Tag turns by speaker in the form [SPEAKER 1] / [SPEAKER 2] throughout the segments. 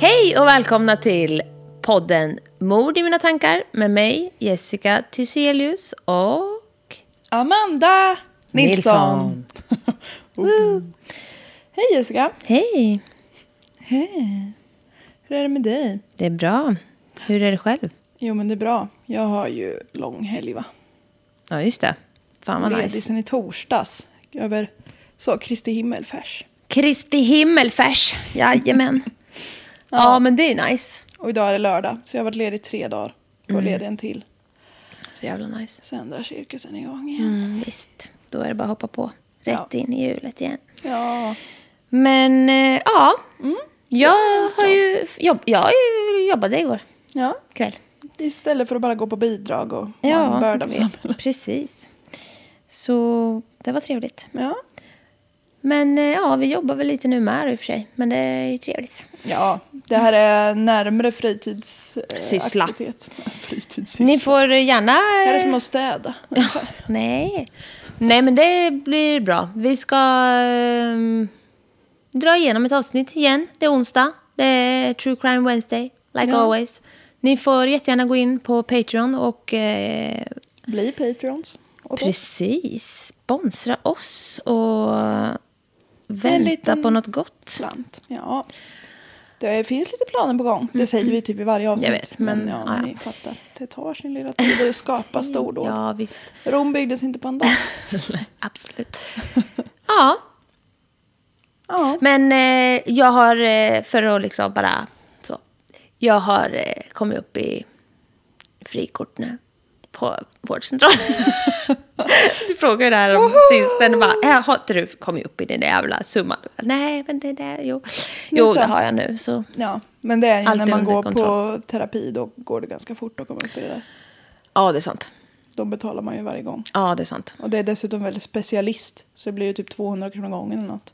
[SPEAKER 1] Hej och välkomna till podden Mord i mina tankar med mig, Jessica Tyselius och...
[SPEAKER 2] Amanda Nilsson. Woo. Hej Jessica.
[SPEAKER 1] Hej!
[SPEAKER 2] Hej. Hur är det med dig?
[SPEAKER 1] Det är bra. Hur är det själv?
[SPEAKER 2] Jo men det är bra. Jag har ju lång helg va?
[SPEAKER 1] Ja, just det. Fan vad
[SPEAKER 2] Ledig
[SPEAKER 1] nice.
[SPEAKER 2] sen i torsdags. Över så Kristi himmelfärs.
[SPEAKER 1] Kristi himmelfärs. Jajamän. ja. men det är nice.
[SPEAKER 2] Och idag är det lördag. Så jag har varit ledig tre dagar. Och
[SPEAKER 1] Mm.
[SPEAKER 2] ledig en till.
[SPEAKER 1] Så jävla nice.
[SPEAKER 2] Sen drar cirkusen igång igen.
[SPEAKER 1] Mm, visst, då är det bara att hoppa på. Rätt
[SPEAKER 2] Ja.
[SPEAKER 1] in i hjulet igen.
[SPEAKER 2] Ja.
[SPEAKER 1] Men eh, ja, jag, har ju, jobb, jag ju jobbade igår
[SPEAKER 2] ja.
[SPEAKER 1] kväll.
[SPEAKER 2] Istället för att bara gå på bidrag och vara en börda för samhället.
[SPEAKER 1] precis. Så det var trevligt.
[SPEAKER 2] Ja.
[SPEAKER 1] Men eh, ja, vi jobbar väl lite nu med i och för sig. Men det är ju trevligt.
[SPEAKER 2] ja, det här är närmre
[SPEAKER 1] Syssla.
[SPEAKER 2] fritidsaktivitet. Fritidssyssla.
[SPEAKER 1] Ni får gärna...
[SPEAKER 2] Det här är som att städa.
[SPEAKER 1] Nej. Nej, men det blir bra. Vi ska ehm, dra igenom ett avsnitt igen. Det är onsdag. Det är True Crime Wednesday, like
[SPEAKER 2] Ja.
[SPEAKER 1] always. Ni får jättegärna gå in på Patreon och eh,
[SPEAKER 2] Bli Patreons. åt oss.
[SPEAKER 1] precis sponsra oss och vänta
[SPEAKER 2] liten-
[SPEAKER 1] på något gott.
[SPEAKER 2] Slant. Ja. Det finns lite planer på gång. Det säger vi typ i varje avsnitt.
[SPEAKER 1] Mm. Jag vet, men-
[SPEAKER 2] ja,
[SPEAKER 1] ja, ja.
[SPEAKER 2] ni fattar. Det tar sin lilla tid att skapa stordåd.
[SPEAKER 1] Mm, Ja, visst.
[SPEAKER 2] Rom byggdes inte på en dag.
[SPEAKER 1] Absolut. Ja,
[SPEAKER 2] Ja.
[SPEAKER 1] men eh, jag har, eh, för att liksom bara så, jag har eh, kommit upp i frikort nu på vårdcentralen. du frågade ju det här om sisten, bara, "Äh, har inte du kommit upp i den där jävla summan? Jag bara, Nej, men det där, jo. Jo,
[SPEAKER 2] så.
[SPEAKER 1] det har jag nu, så
[SPEAKER 2] ja, men det är ju
[SPEAKER 1] Allt är
[SPEAKER 2] när man
[SPEAKER 1] under
[SPEAKER 2] går
[SPEAKER 1] kontroll.
[SPEAKER 2] på terapi då går det ganska fort att komma upp i det där.
[SPEAKER 1] ja, det är sant.
[SPEAKER 2] Då betalar man ju varje gång.
[SPEAKER 1] Ja, det är sant.
[SPEAKER 2] Och det är dessutom väldigt specialist. Så det blir ju typ 200 kronor gången eller något.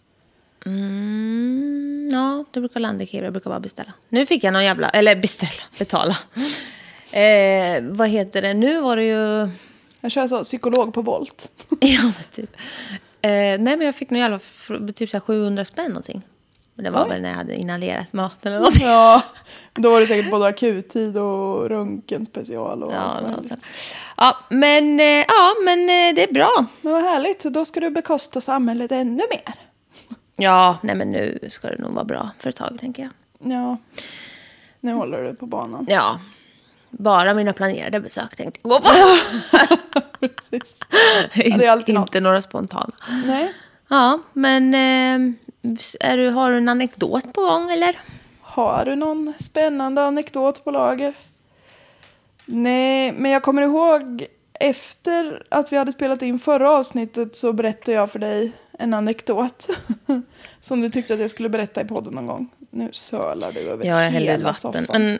[SPEAKER 1] Mm, ja, det brukar landa i Kiruna. Jag brukar bara beställa. Nu fick jag någon jävla... Eller beställa, betala. Eh, vad heter det? Nu var det ju...
[SPEAKER 2] Jag kör så, psykolog på volt.
[SPEAKER 1] ja, men typ. Eh, nej, men jag fick någon jävla... fr- Typ så här 700 spänn någonting. Men det var väl när jag hade inhalerat maten eller någonting.
[SPEAKER 2] Ja, då var det säkert både akuttid och röntgenspecial och
[SPEAKER 1] Ja,
[SPEAKER 2] allt
[SPEAKER 1] något
[SPEAKER 2] möjligt.
[SPEAKER 1] sånt. ja, men, eh, ja, men eh, det är bra.
[SPEAKER 2] Men vad härligt, så då ska du bekosta samhället ännu mer.
[SPEAKER 1] Ja, nej men nu ska det nog vara bra för ett tag, tänker jag.
[SPEAKER 2] Ja, nu håller du på banan.
[SPEAKER 1] Ja, bara mina planerade besök tänkte jag gå på.
[SPEAKER 2] Precis. Ja, det är alltid något.
[SPEAKER 1] Inte några spontana.
[SPEAKER 2] Nej.
[SPEAKER 1] Ja, men eh, är du, har du en anekdot på gång eller?
[SPEAKER 2] Har du någon spännande anekdot på lager? Nej, men jag kommer ihåg efter att vi hade spelat in förra avsnittet så berättade jag för dig en anekdot som du tyckte att jag skulle berätta i podden någon gång. Nu sölar du över
[SPEAKER 1] Ja, jag hällde
[SPEAKER 2] hela
[SPEAKER 1] ut vatten.
[SPEAKER 2] soffan.
[SPEAKER 1] Men,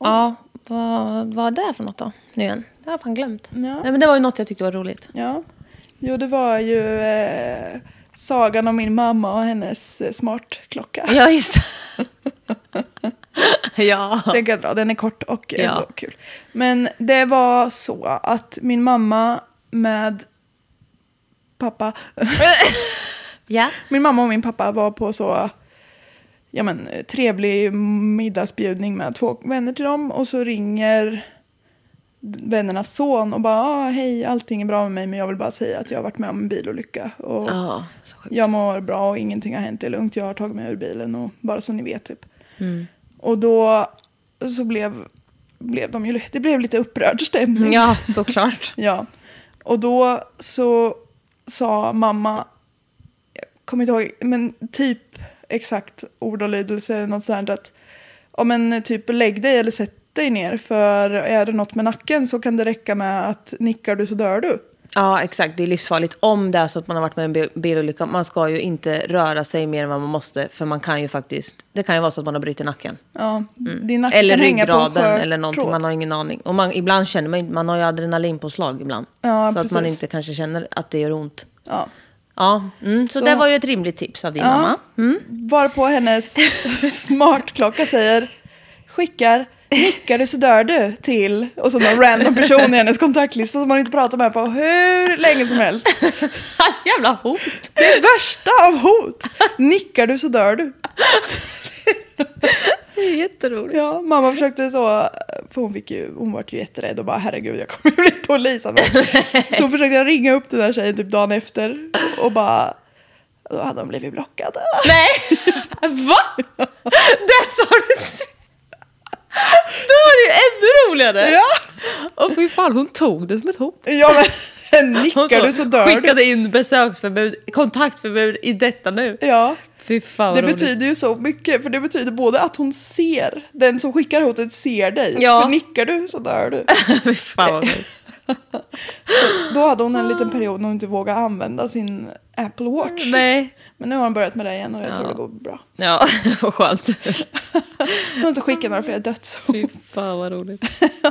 [SPEAKER 1] ja, vad vad var det för något då? Nu igen. Jag har fan glömt.
[SPEAKER 2] Ja.
[SPEAKER 1] Nej, men det var ju något jag tyckte var roligt.
[SPEAKER 2] Ja. Jo, det var ju eh, sagan om min mamma och hennes eh, smartklocka.
[SPEAKER 1] Ja, just det. ja.
[SPEAKER 2] Den kan jag dra, den är kort och ändå
[SPEAKER 1] Ja.
[SPEAKER 2] kul. Men det var så att min mamma med pappa,
[SPEAKER 1] ja.
[SPEAKER 2] min mamma och min pappa var på så ja men, trevlig middagsbjudning med två vänner till dem och så ringer vännernas son och bara ah, hej allting är bra med mig men jag vill bara säga att jag har varit med om en bilolycka och
[SPEAKER 1] Ja, så sjukt.
[SPEAKER 2] jag mår bra och ingenting har hänt, det är lugnt, jag har tagit mig ur bilen och bara så ni vet typ.
[SPEAKER 1] Mm.
[SPEAKER 2] Och då så blev, blev de ju, det blev lite upprörd stämning.
[SPEAKER 1] Ja, såklart.
[SPEAKER 2] Ja. Och då så sa mamma, jag kommer inte ihåg, men typ exakt ordalydelse, något sånt att, ja men typ lägg dig eller sätt dig ner för är det något med nacken så kan det räcka med att nickar du så dör du.
[SPEAKER 1] Ja, exakt. Det är livsfarligt om det är så att man har varit med i en bil- bilolycka. Man ska ju inte röra sig mer än vad man måste. För man kan ju faktiskt... Det kan ju vara så att man har brutit nacken.
[SPEAKER 2] Ja, din nacke
[SPEAKER 1] Mm. Eller
[SPEAKER 2] kan hänga på en
[SPEAKER 1] ryggraden
[SPEAKER 2] skör
[SPEAKER 1] eller någonting,
[SPEAKER 2] tråd.
[SPEAKER 1] man har ingen aning. Och man, ibland känner man ju- man har ju adrenalinpåslag ibland.
[SPEAKER 2] Ja,
[SPEAKER 1] så att man
[SPEAKER 2] precis.
[SPEAKER 1] inte kanske känner att det gör ont.
[SPEAKER 2] Ja.
[SPEAKER 1] Ja, mm, så,
[SPEAKER 2] Så-
[SPEAKER 1] det var ju ett rimligt tips av din mamma. Mm.
[SPEAKER 2] Varpå hennes smartklocka säger skickar nickar du så dör du till och så någon random person i hennes kontaktlista som man inte pratar med på hur länge som helst.
[SPEAKER 1] Jävla hot!
[SPEAKER 2] Det värsta av hot! Nickar du så dör du.
[SPEAKER 1] Det är jätteroligt.
[SPEAKER 2] Ja, mamma försökte så, för hon, fick ju, hon var ju jätterädd och bara herregud jag kommer ju bli polisanmäld. så hon försökte ringa upp den där tjejen typ dagen efter och bara, då hade hon blivit blockad.
[SPEAKER 1] Nej! Va? Där sa du inte. Då var det ju ännu roligare.
[SPEAKER 2] Ja,
[SPEAKER 1] Och fy fan, hon tog det som ett hot.
[SPEAKER 2] ja men
[SPEAKER 1] Hon
[SPEAKER 2] nickar du så dör du.
[SPEAKER 1] skickade in besöksförbud, kontaktförbud i detta nu.
[SPEAKER 2] Ja,
[SPEAKER 1] Fy fan
[SPEAKER 2] det
[SPEAKER 1] vad roligt.
[SPEAKER 2] betyder ju så mycket för det betyder både att hon ser, den som skickar hotet ser dig.
[SPEAKER 1] Ja.
[SPEAKER 2] För nickar du så dör du.
[SPEAKER 1] Fy fan vad roligt.
[SPEAKER 2] Då hade hon en liten period när hon inte vågade använda sin Apple Watch.
[SPEAKER 1] Nej.
[SPEAKER 2] Men nu har hon börjat med det igen och jag tror
[SPEAKER 1] Ja.
[SPEAKER 2] det går bra.
[SPEAKER 1] Ja, vad skönt.
[SPEAKER 2] Hon har inte skickat några fler dödshot.
[SPEAKER 1] Fy fan vad roligt.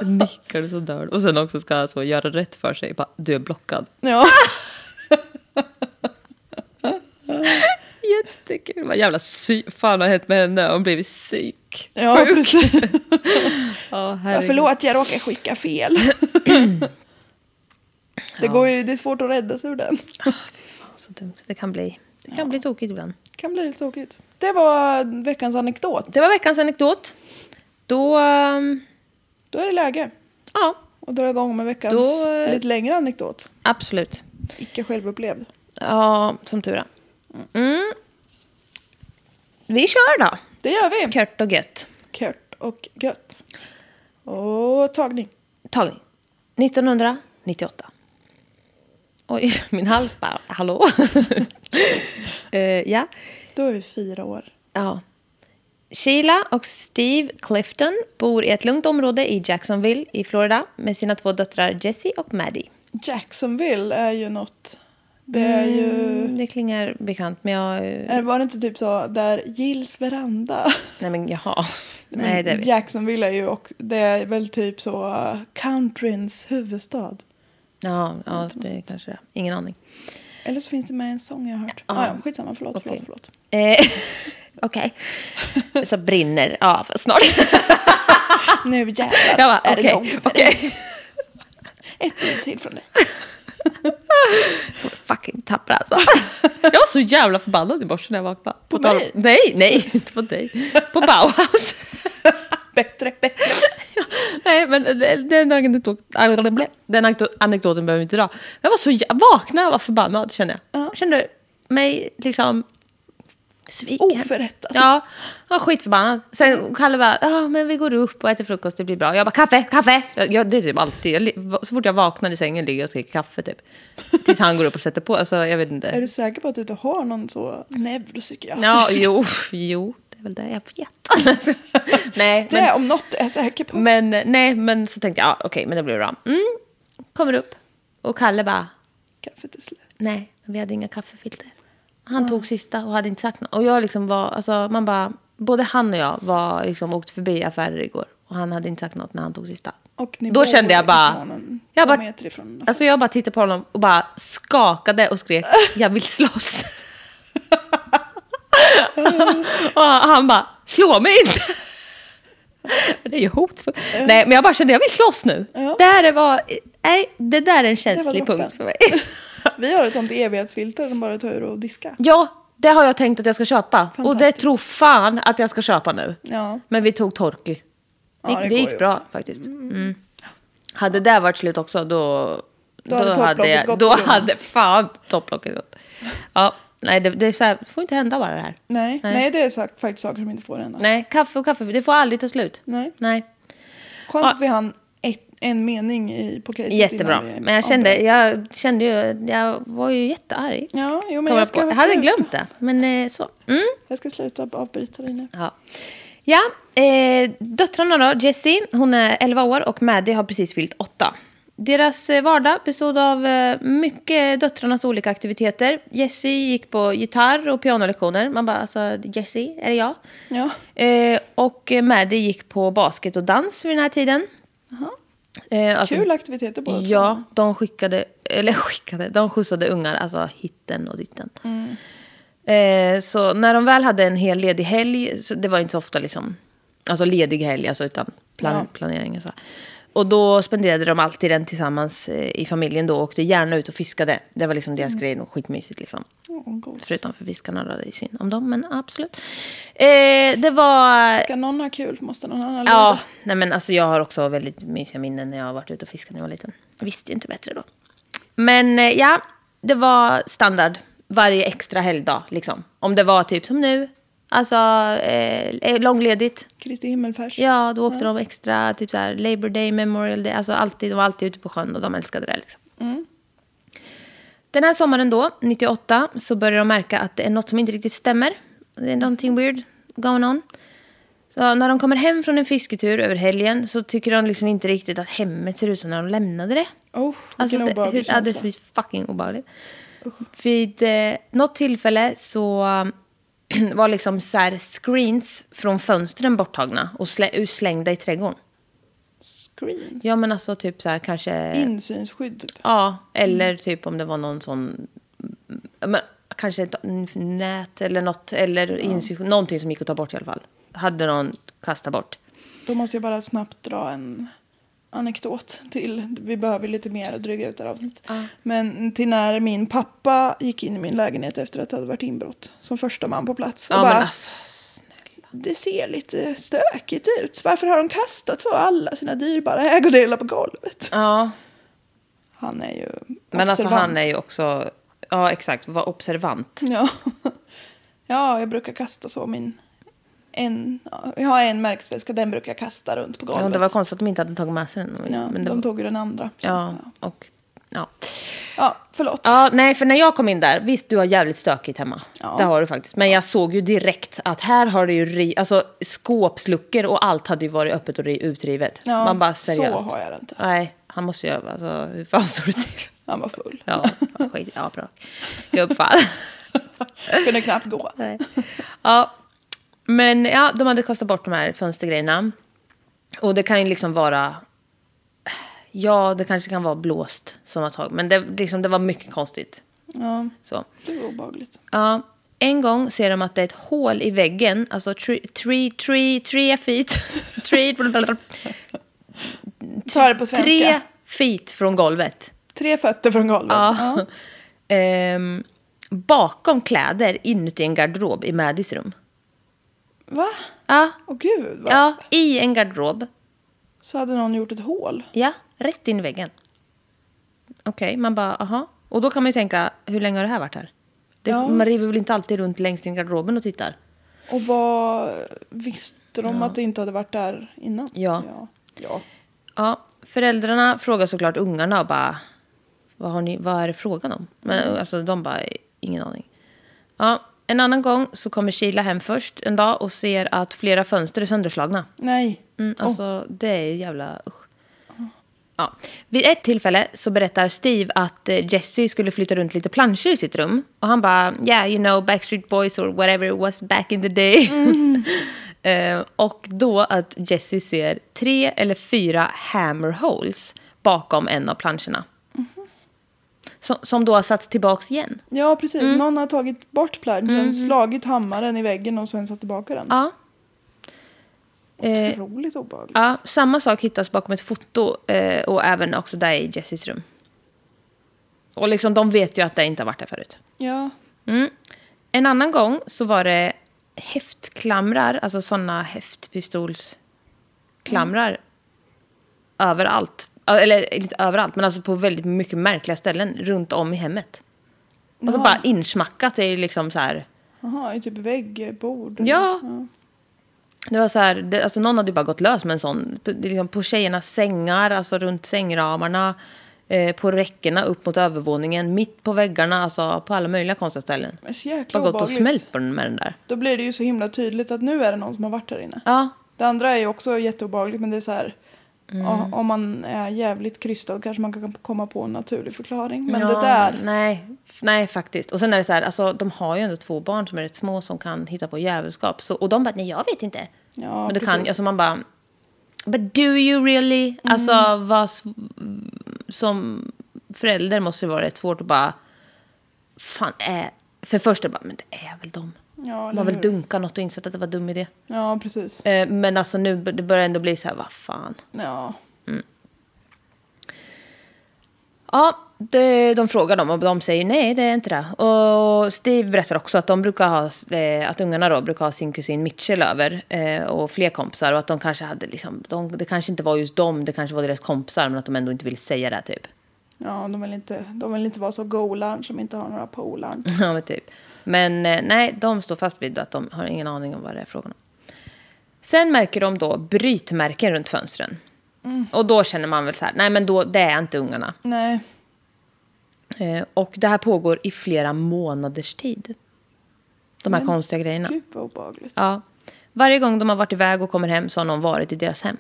[SPEAKER 1] Nickar du så dör du. Och sen också ska så göra rätt för sig. Bara, du är blockad.
[SPEAKER 2] Ja.
[SPEAKER 1] Jättekul. Vad jävla psy- fan har hänt med henne? Hon blev psyk.
[SPEAKER 2] Ja, precis.
[SPEAKER 1] Ja,
[SPEAKER 2] Ja,
[SPEAKER 1] herregud.
[SPEAKER 2] förlåt, jag råkade skicka fel. Det, går ju, det är svårt att rädda sig ur den.
[SPEAKER 1] Så dumt. Det kan bli, det kan bli tokigt ibland.
[SPEAKER 2] kan bli lite tråkigt. Det var veckans anekdot.
[SPEAKER 1] Det var veckans anekdot. Då, ehm,
[SPEAKER 2] Då är det läge
[SPEAKER 1] ja,
[SPEAKER 2] att dra igång med veckans
[SPEAKER 1] Då, eh,
[SPEAKER 2] lite längre anekdot.
[SPEAKER 1] absolut.
[SPEAKER 2] Icke självupplevd.
[SPEAKER 1] Ja, som tur är. Mm. Vi kör då.
[SPEAKER 2] Det gör vi.
[SPEAKER 1] Kört och gött.
[SPEAKER 2] Kört och gött. Och tagning.
[SPEAKER 1] Tagning. 1998. Oj, min hals bara, hallå? Eh, ja.
[SPEAKER 2] Då är vi fyra år.
[SPEAKER 1] ja. Sheila och Steve Clifton bor i ett lugnt område i Jacksonville i Florida med sina två döttrar Jessie och Maddie.
[SPEAKER 2] Jacksonville är ju något. Det är ju...
[SPEAKER 1] Mm, det klingar bekant, men jag... eh,
[SPEAKER 2] är- Var det inte typ så där Gills veranda?
[SPEAKER 1] Nej, men jaha. Nej, det vet jag.
[SPEAKER 2] Jacksonville är ju och det är väl typ så uh, countryns huvudstad.
[SPEAKER 1] Ja, ja det kanske det är. Ingen aning.
[SPEAKER 2] Eller så finns det med i en sång jag har hört.
[SPEAKER 1] Ja.
[SPEAKER 2] Ah, ja, skitsamma, förlåt,
[SPEAKER 1] Okej.
[SPEAKER 2] förlåt, förlåt.
[SPEAKER 1] Eh, Okej. Så brinner. Ja, för snart.
[SPEAKER 2] Nu jävlar
[SPEAKER 1] Jag bara,
[SPEAKER 2] är det
[SPEAKER 1] okej.
[SPEAKER 2] igång.
[SPEAKER 1] okej.
[SPEAKER 2] Ett ljud till från dig.
[SPEAKER 1] Fucking tappar alltså. Jag var så jävla förbannad i morse när jag vaknade.
[SPEAKER 2] På
[SPEAKER 1] tal-
[SPEAKER 2] mig?
[SPEAKER 1] Nej, nej, inte på dig. På Bauhaus.
[SPEAKER 2] Bättre, bättre.
[SPEAKER 1] Nej, men den- den anekdoten, den anekdo- anekdoten behöver vi inte dra. Jag var så jä- jag vaknade och var förbannad kände jag.
[SPEAKER 2] Ja.
[SPEAKER 1] Kände mig liksom sviken.
[SPEAKER 2] Oförrättad.
[SPEAKER 1] Ja, jag var skitförbannad. Sen Kalle bara, ja men vi går upp och äter frukost, det blir bra. Jag bara, kaffe, kaffe! Jag, jag, det är typ alltid, jag, li- så fort jag vaknar i sängen ligger jag och skriker kaffe typ. Tills han går upp och sätter på, alltså jag vet inte.
[SPEAKER 2] Är du säker på att du inte har någon så neuropsykiatrisk?
[SPEAKER 1] Ja, jo, jo, det är väl det jag vet. nej,
[SPEAKER 2] Det
[SPEAKER 1] men, Mm.
[SPEAKER 2] om något är jag säker på.
[SPEAKER 1] men, nej, men så tänkte jag, ja, okej, men det blir bra. Mm, kommer upp och Kalle bara,
[SPEAKER 2] Kaffet är slut.
[SPEAKER 1] nej, men vi hade inga kaffefilter. Han tog sista och hade inte sagt något. Och jag liksom var, alltså man bara, både han och jag var liksom åkte förbi affärer igår och han hade inte sagt något när han tog sista.
[SPEAKER 2] Och ni
[SPEAKER 1] Då kände jag bara- jag
[SPEAKER 2] jag
[SPEAKER 1] bara-
[SPEAKER 2] bara... meter ifrån
[SPEAKER 1] Alltså jag bara tittade på honom och bara skakade och skrek jag vill slåss. och han bara slå mig inte. Det är ju hotfullt. Nej men jag bara kände jag vill slåss nu.
[SPEAKER 2] Ja.
[SPEAKER 1] Det här var, nej det där är en känslig
[SPEAKER 2] droppen.
[SPEAKER 1] punkt för mig.
[SPEAKER 2] Vi har ett sånt evighetsfilter som bara tar ur och diska.
[SPEAKER 1] ja det har jag tänkt att jag ska köpa. Och det
[SPEAKER 2] Fantastiskt.
[SPEAKER 1] tror fan att jag ska köpa nu.
[SPEAKER 2] Ja.
[SPEAKER 1] Men vi tog Torky. Det,
[SPEAKER 2] Ja, det
[SPEAKER 1] det,
[SPEAKER 2] går ju
[SPEAKER 1] gick bra
[SPEAKER 2] också.
[SPEAKER 1] faktiskt. Mm. Hade det där varit slut också då... Då
[SPEAKER 2] hade
[SPEAKER 1] hade,
[SPEAKER 2] topplocket
[SPEAKER 1] jag,
[SPEAKER 2] gått
[SPEAKER 1] då
[SPEAKER 2] på gumman.
[SPEAKER 1] hade fan topplocket gått. Ja, nej, det, det är så här, det får inte hända bara det här.
[SPEAKER 2] Nej.
[SPEAKER 1] Nej.
[SPEAKER 2] Nej. det är sagt, faktiskt saker som inte får hända.
[SPEAKER 1] Nej, kaffe och kaffe, det får aldrig ta slut.
[SPEAKER 2] Nej.
[SPEAKER 1] Nej,
[SPEAKER 2] Skönt
[SPEAKER 1] Ja.
[SPEAKER 2] att vi hann ett, en mening i, på caset
[SPEAKER 1] jättebra.
[SPEAKER 2] innan vi
[SPEAKER 1] Men jag kände,
[SPEAKER 2] avbröt.
[SPEAKER 1] jag kände ju, jag var ju jättearg.
[SPEAKER 2] Ja, jo, men
[SPEAKER 1] Kom
[SPEAKER 2] jag
[SPEAKER 1] jag, på.
[SPEAKER 2] ska
[SPEAKER 1] jag hade
[SPEAKER 2] sluta.
[SPEAKER 1] glömt det, men eh, så. Mm.
[SPEAKER 2] Jag ska sluta avbryta dig nu.
[SPEAKER 1] Ja. Ja, eh, döttrarna då, Jessie, hon är 11 år och Maddie har precis fyllt 8. Deras eh, vardag bestod av eh, mycket döttrarnas olika aktiviteter. Jessie gick på gitarr och pianolektioner. Man bara, alltså Jessie, är det jag?
[SPEAKER 2] Ja.
[SPEAKER 1] Eh, och eh, Maddie gick på basket och dans vid den här tiden.
[SPEAKER 2] Aha.
[SPEAKER 1] Eh, alltså-
[SPEAKER 2] Kul aktiviteter båda två.
[SPEAKER 1] Ja, de skickade, eller skickade, de skjutsade ungar, alltså hitten och ditten. Eh, så när de väl hade en hel ledig helg, så det var inte så ofta liksom, alltså ledig helg, alltså utan plan,
[SPEAKER 2] Ja.
[SPEAKER 1] planering och så. Och då spenderade de alltid den tillsammans eh, i familjen då och åkte gärna ut och fiskade. Det var liksom deras grej och skitmysigt liksom.
[SPEAKER 2] Åh, god.
[SPEAKER 1] Förutom för fiskarna då, det är synd om dem, men absolut. Eh, det var...
[SPEAKER 2] Ska någon ha kul måste någon annan
[SPEAKER 1] Ja,
[SPEAKER 2] lida.
[SPEAKER 1] nej men alltså jag har också väldigt mysiga minnen när jag har varit ute och fiskat när jag var liten. Jag visste ju inte bättre då. Men eh, ja, det var standard varje extra helgdag liksom. Om det var typ som nu, alltså eh, långledigt.
[SPEAKER 2] Kristi himmelfärs.
[SPEAKER 1] Ja, då åkte de extra, typ så här Labor Day, Memorial Day, alltså alltid, de var alltid ute på sjön och de älskade det liksom.
[SPEAKER 2] Mm.
[SPEAKER 1] Den här sommaren då, 98, så börjar de märka att det är något som inte riktigt stämmer. Det är någonting weird going on. Så när de kommer hem från en fisketur över helgen så tycker de liksom inte riktigt att hemmet ser ut som när de lämnade det.
[SPEAKER 2] Oh,
[SPEAKER 1] Alltså,
[SPEAKER 2] vilken
[SPEAKER 1] det,
[SPEAKER 2] obehaglig
[SPEAKER 1] hur- ja, det är
[SPEAKER 2] känsla.
[SPEAKER 1] så fucking obehagligt. Vid eh, något tillfälle så eh, var liksom så här screens från fönstren borttagna och slä, slängda i trädgården.
[SPEAKER 2] Screens. Eh.
[SPEAKER 1] Ja men alltså typ så här kanske...
[SPEAKER 2] Insynsskydd typ.
[SPEAKER 1] Ja, eller typ om det var någon sån... Men, kanske ett nät eller något, eller insy- någonting som gick att ta bort i alla fall. Hade någon kastat bort.
[SPEAKER 2] Då måste jag bara snabbt dra en anekdot till. Vi behöver lite mer att dryga ut det här avsnittet.
[SPEAKER 1] Ja.
[SPEAKER 2] Men till när min pappa gick in i min lägenhet efter att det hade varit inbrott. Som första man på plats. Och
[SPEAKER 1] Ja,
[SPEAKER 2] bara,
[SPEAKER 1] men alltså, snälla.
[SPEAKER 2] det ser lite stökigt ut. Varför har de kastat så alla sina dyrbara ägodelar på golvet?
[SPEAKER 1] Ja,
[SPEAKER 2] Han är ju
[SPEAKER 1] men alltså
[SPEAKER 2] observant.
[SPEAKER 1] han är ju också... Ja, exakt. Var observant.
[SPEAKER 2] Ja. ja, jag brukar kasta så min... En, ja, jag har en märkesväska, den brukar jag kasta runt på golvet.
[SPEAKER 1] Ja, det var konstigt att de inte hade tagit med sig den.
[SPEAKER 2] Ja,
[SPEAKER 1] men det
[SPEAKER 2] de
[SPEAKER 1] var,
[SPEAKER 2] tog ju den andra. så-
[SPEAKER 1] ja,
[SPEAKER 2] ja.
[SPEAKER 1] och... Ja.
[SPEAKER 2] ja, förlåt.
[SPEAKER 1] ja, nej, för när jag kom in där, visst du har jävligt stökigt hemma.
[SPEAKER 2] Ja.
[SPEAKER 1] Det har du faktiskt. Men jag såg ju direkt att här har det ju ri- alltså, skåpsluckor och allt hade ju varit öppet och ri- utrivet.
[SPEAKER 2] Ja,
[SPEAKER 1] Man bara seriöst.
[SPEAKER 2] Så har jag det inte.
[SPEAKER 1] Nej, han måste ju... Alltså, hur fan står det till?
[SPEAKER 2] Han var full.
[SPEAKER 1] Ja, skit. Ja, bra. Gubbfall.
[SPEAKER 2] Kunde knappt gå.
[SPEAKER 1] Nej. Ja, men ja, de hade kastat bort de här fönstergrejerna. Och det kan ju liksom vara... Ja, det kanske kan vara blåst som har tagit. Men det, liksom, det var mycket konstigt.
[SPEAKER 2] Ja,
[SPEAKER 1] Så.
[SPEAKER 2] det var obehagligt.
[SPEAKER 1] Ja, en gång ser de att det är ett hål i väggen, alltså tre, tre, tre, tre feet. Tre,
[SPEAKER 2] Ta det på svenska.
[SPEAKER 1] Typ tre
[SPEAKER 2] Tre,
[SPEAKER 1] feet från golvet.
[SPEAKER 2] fötter från golvet.
[SPEAKER 1] Ja. Ehm, bakom kläder inuti en garderob i Maddys rum.
[SPEAKER 2] Va?
[SPEAKER 1] Ja,
[SPEAKER 2] Åh gud. Va?
[SPEAKER 1] ja, i en garderob.
[SPEAKER 2] Så hade någon gjort ett hål.
[SPEAKER 1] Ja, rätt in i väggen. Okej, man bara aha. Och då kan man ju tänka, hur länge har det här varit här? Det,
[SPEAKER 2] Ja.
[SPEAKER 1] Man river väl inte alltid runt längst in i garderoben och tittar?
[SPEAKER 2] Och vad visste de att det inte hade varit där innan?
[SPEAKER 1] Ja.
[SPEAKER 2] ja. Ja.
[SPEAKER 1] Ja, föräldrarna frågar såklart ungarna och bara, vad, har ni, vad är det frågan om? Men alltså de bara, ingen aning. Ja, en annan gång så kommer Sheila hem först en dag och ser att flera fönster är sönderslagna.
[SPEAKER 2] Nej.
[SPEAKER 1] Mm, alltså, det är ju jävla... Usch. Ja. Vid ett tillfälle så berättar Steve att eh, Jesse skulle flytta runt lite planscher i sitt rum. Och han bara, yeah, you know, Backstreet Boys or whatever it was back in the day. eh, och då att Jesse ser tre eller fyra hammer holes bakom en av planscherna. Som, som då har satts tillbaks igen.
[SPEAKER 2] Ja, precis.
[SPEAKER 1] Mm.
[SPEAKER 2] Någon har tagit bort planschen, slagit hammaren i väggen och sen satt tillbaka den.
[SPEAKER 1] Ja. Eh,
[SPEAKER 2] Otroligt obehagligt.
[SPEAKER 1] Ja, samma sak hittas bakom ett foto eh, och även också där i Jessys rum. Och liksom, de vet ju att det inte har varit där förut.
[SPEAKER 2] Ja.
[SPEAKER 1] Mm. En annan gång så var det häftklamrar, alltså sådana häftpistolsklamrar överallt. Eller inte överallt, men alltså på väldigt mycket märkliga ställen runt om i hemmet. Alltså
[SPEAKER 2] Jaha.
[SPEAKER 1] bara insmackat är ju liksom så här.
[SPEAKER 2] Jaha, i typ vägg, bord.
[SPEAKER 1] Ja. Det var så här, det, alltså någon hade ju bara gått lös med en sån. På, det är liksom på tjejernas sängar, alltså runt sängramarna. Eh, på räckena upp mot övervåningen, mitt på väggarna, alltså på alla möjliga konstiga ställen.
[SPEAKER 2] Men så jäkla
[SPEAKER 1] Bara gått och
[SPEAKER 2] obehagligt.
[SPEAKER 1] smält på den med den där.
[SPEAKER 2] Då blir det ju så himla tydligt att nu är det någon som har varit där inne.
[SPEAKER 1] Ja,
[SPEAKER 2] Det andra är ju också jätteobehagligt men det är så här.
[SPEAKER 1] Mm.
[SPEAKER 2] ja, Om man är jävligt krystad kanske man kan komma på en naturlig förklaring. Men
[SPEAKER 1] ja,
[SPEAKER 2] det där.
[SPEAKER 1] Nej, f- nej, faktiskt. Och sen är det så här, alltså, de har ju ändå två barn som är rätt små som kan hitta på djävulskap. Så, och de bara, nej jag vet inte.
[SPEAKER 2] Ja,
[SPEAKER 1] Men du kan,
[SPEAKER 2] precis. Mm.
[SPEAKER 1] alltså man bara, but do you really? Alltså vad, s- som förälder måste det vara rätt svårt att bara, fan är, för det första bara, men det är väl de.
[SPEAKER 2] Ja,
[SPEAKER 1] De
[SPEAKER 2] eller
[SPEAKER 1] har väl
[SPEAKER 2] hur?
[SPEAKER 1] dunkat något och insett att det var dum idé.
[SPEAKER 2] Ja, precis.
[SPEAKER 1] Eh, Men alltså nu b- det börjar ändå bli så här, vad fan.
[SPEAKER 2] Ja.
[SPEAKER 1] Ja, de, de frågar dem och de säger nej, det är inte det. Och Steve berättar också att, de brukar ha, eh, att ungarna då brukar ha sin kusin Mitchell över eh, och fler kompisar. Och att de kanske hade liksom, de, det kanske inte var just dem, det kanske var deras kompisar, men att de ändå inte ville säga det typ.
[SPEAKER 2] Ja, de vill inte, de vill inte vara så golarn som inte har några polarn.
[SPEAKER 1] Ja, men typ. Men eh, nej, de står fast vid att de har ingen aning om vad det är frågan om. Sen märker de då brytmärken runt fönstren. Och då känner man väl så här, nej men då, det är inte ungarna.
[SPEAKER 2] Nej.
[SPEAKER 1] Eh, och det här pågår i flera månaders tid. De här
[SPEAKER 2] Men
[SPEAKER 1] konstiga grejerna.
[SPEAKER 2] Gud vad obehagligt.
[SPEAKER 1] Ja. Varje gång de har varit iväg och kommer hem så har någon varit i deras hem.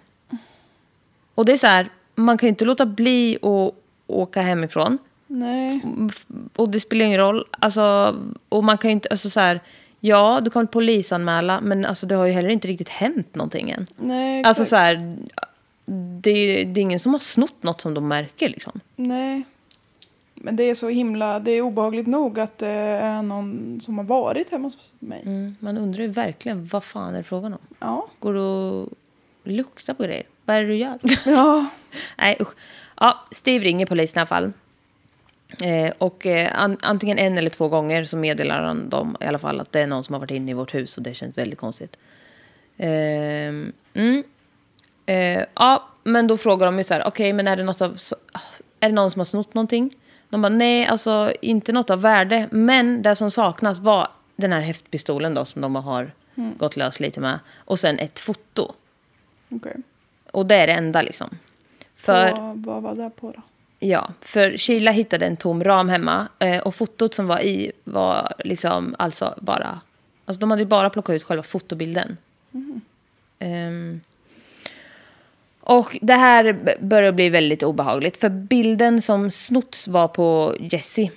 [SPEAKER 1] Och det är så här, man kan ju inte låta bli att åka hemifrån.
[SPEAKER 2] Nej.
[SPEAKER 1] Och det spelar ingen roll. Alltså, och man kan ju inte, alltså så här, ja, du kan polisanmäla, men alltså, det har ju heller inte riktigt hänt någonting än.
[SPEAKER 2] Nej, exakt.
[SPEAKER 1] Alltså så här, det är, ju- det är ingen som har snott något som de märker liksom.
[SPEAKER 2] Nej. Men det är så himla, det är obehagligt nog att det är någon som har varit hemma hos mig.
[SPEAKER 1] Mm, man undrar ju verkligen, vad fan är det frågan om?
[SPEAKER 2] Ja.
[SPEAKER 1] Går du och luktar på grejer? Vad är det du gör?
[SPEAKER 2] Ja.
[SPEAKER 1] Nej, usch. Ja, Steve ringer polisen i alla fall. Eh, och eh, an, antingen en eller två gånger så meddelar han dem i alla fall att det är någon som har varit inne i vårt hus och det känns väldigt konstigt. Ehm, mm. eh, ja, men då frågar de ju så här, okej, men är det, något av, så- är det någon som har snott någonting? De bara, nej, alltså inte något av värde, men det som saknas var den här häftpistolen då som de har gått lös lite med och sen ett foto.
[SPEAKER 2] Okej.
[SPEAKER 1] Och det är det enda liksom. För,
[SPEAKER 2] Vad, vad var det på då?
[SPEAKER 1] Ja, för Sheila hittade en tom ram hemma eh, och fotot som var i var liksom alltså bara... Alltså de hade ju bara plockat ut själva fotobilden. Ehm, och det här b- börjar bli väldigt obehagligt för bilden som snotts var på Jessie,